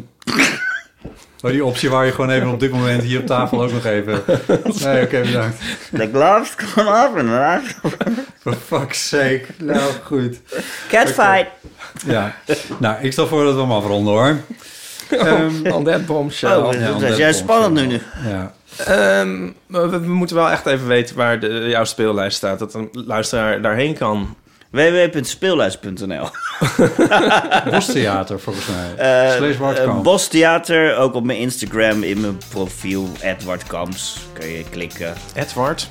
Oh, die optie waar je gewoon even op dit moment hier op tafel ook nog
*laughs*
even... Nee, oké, bedankt.
The gloves come off and off.
For fuck's sake. Nou, goed.
Catfight.
Ja. Nou, ik stel voor dat we hem afronden, hoor. Ehm,
*laughs* On that bombshell.
Oh,
ja,
dat
dat
is juist
komt
spannend nu. nu.
ja.
Ehm, maar we, we moeten wel echt even weten waar de, jouw speellijst staat. Dat een luisteraar daarheen kan.
www.speelhuis.nl
Bostheater, volgens mij.
*laughs* Eh,
Slees Bart
eh,
Kamp.
Bos Theater, ook op mijn Instagram, in mijn profiel, Edward Kamps. Kun je klikken.
Edward.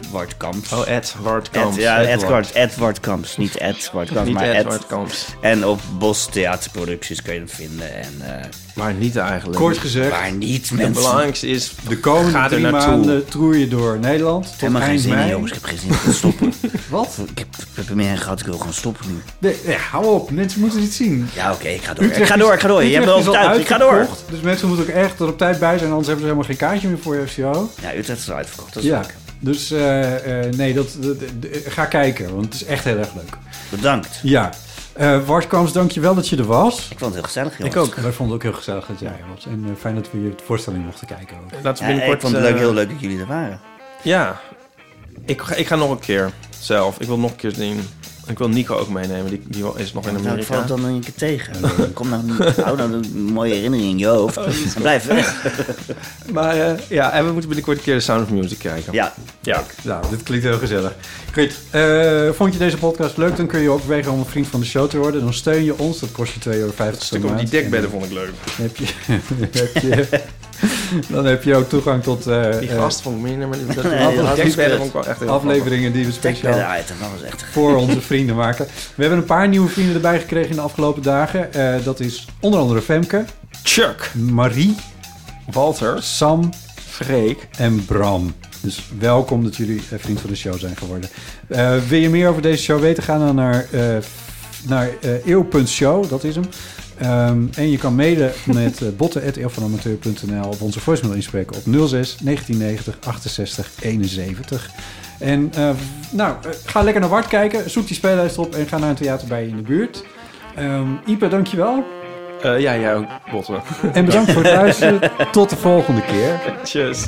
Edward Kamps.
Oh, Edward
Ed-
Kamps.
ja,
Edward.
Edward, Edward Kamps. Niet Edward Kamps,
Niet
maar Ed-
Edward Kamps.
En op Bos Theaterproducties kun je hem vinden. En, eh,
Maar niet eigenlijk.
Kort gezegd,
maar niet,
Het
mensen.
belangrijkste is...
de komende
Gaat er
drie
naartoe.
maanden troei je door Nederland. Tot
Helemaal geen
eind
zin in,
mei.
jongens. Ik heb geen zin. Ik wil stoppen.
Wat?
ik, heb, ik heb er meer in gehad. Ik wil gewoon stoppen nu.
Nee, nee, hou op. Mensen moeten dit zien.
Ja, oké. ik ga door. Ik ga door, ik ga door. Je hebt me
Utrecht is al
overtuigd. Ik ga door.
uitverkocht, Dus mensen moeten ook echt er op tijd bij zijn. Anders hebben ze helemaal geen kaartje meer voor je FCO.
Ja, Utrecht is al uitverkocht. Dat is
Ja.
leuk.
Dus eh, eh, nee, dat, dat- dat- ga kijken, want het is echt heel erg leuk.
Bedankt.
Ja. Eh Wart Kams, dankjewel dat je er was.
Ik vond het heel gezellig, jongens.
Wij vonden het ook heel gezellig dat jij er was. En eh, fijn dat we je voorstelling mochten kijken ook.
Laten
Ja,
we binnenkort...
ik vond het leuk,
eh,
heel leuk dat jullie er waren.
Ja. Ik, ga- ik ga nog een keer zelf. Ik wil nog een keer zien. Ik wil Nico ook meenemen. Die, die is nog in
Nou, ik val
Amerika.
het dan een keer tegen. Kom nou, *laughs* niet- hou nou een mooie herinnering in je hoofd. En blijf weg.
Maar eh, ja, en we moeten binnenkort een keer de Sound of Music kijken.
Ja,
Ja.
Nou, dit klinkt heel gezellig. Goed. eh, vond je deze podcast leuk? Dan kun je ook wegen om een vriend van de show te worden. Dan steun je ons. Dat kost je 2,50 euro.
Het stuk over die dekbedden vond ik leuk.
Dan heb je, *laughs* heb je, dan heb je ook toegang tot eh,
Die
eh,
gast vond ik minder, maar die, *laughs* dat-
Nee,
die
dat is
dekbedden
kut.
vond ik wel echt heel
afleveringen die we
tek bij de
speciaal
item. Dat was echt
voor onze vrienden maken. We hebben een paar nieuwe vrienden erbij gekregen in de afgelopen dagen. Eh, dat is onder andere Femke,
grappig. Chuck,
Marie,
Walter,
Sam
Freek.
en Bram. Dus welkom dat jullie eh, vriend van de show zijn geworden. Eh, wil je meer over deze show weten? Ga dan naar, eh, f- naar eh, eeuw.show, dat is hem. Ehm, en je kan mailen met eh, botten.eeuwvanamateur.nl of onze voicemail inspreken op 06 1990 68 71. En eh, nou, eh, ga lekker naar Wart kijken, zoek die speellijst op en ga naar een theater bij je in de buurt. Ehm Ipe, dankjewel.
Eh ja, jij ook, Botten.
En bedankt voor het luisteren. Tot de volgende keer.
*laughs* Tjus.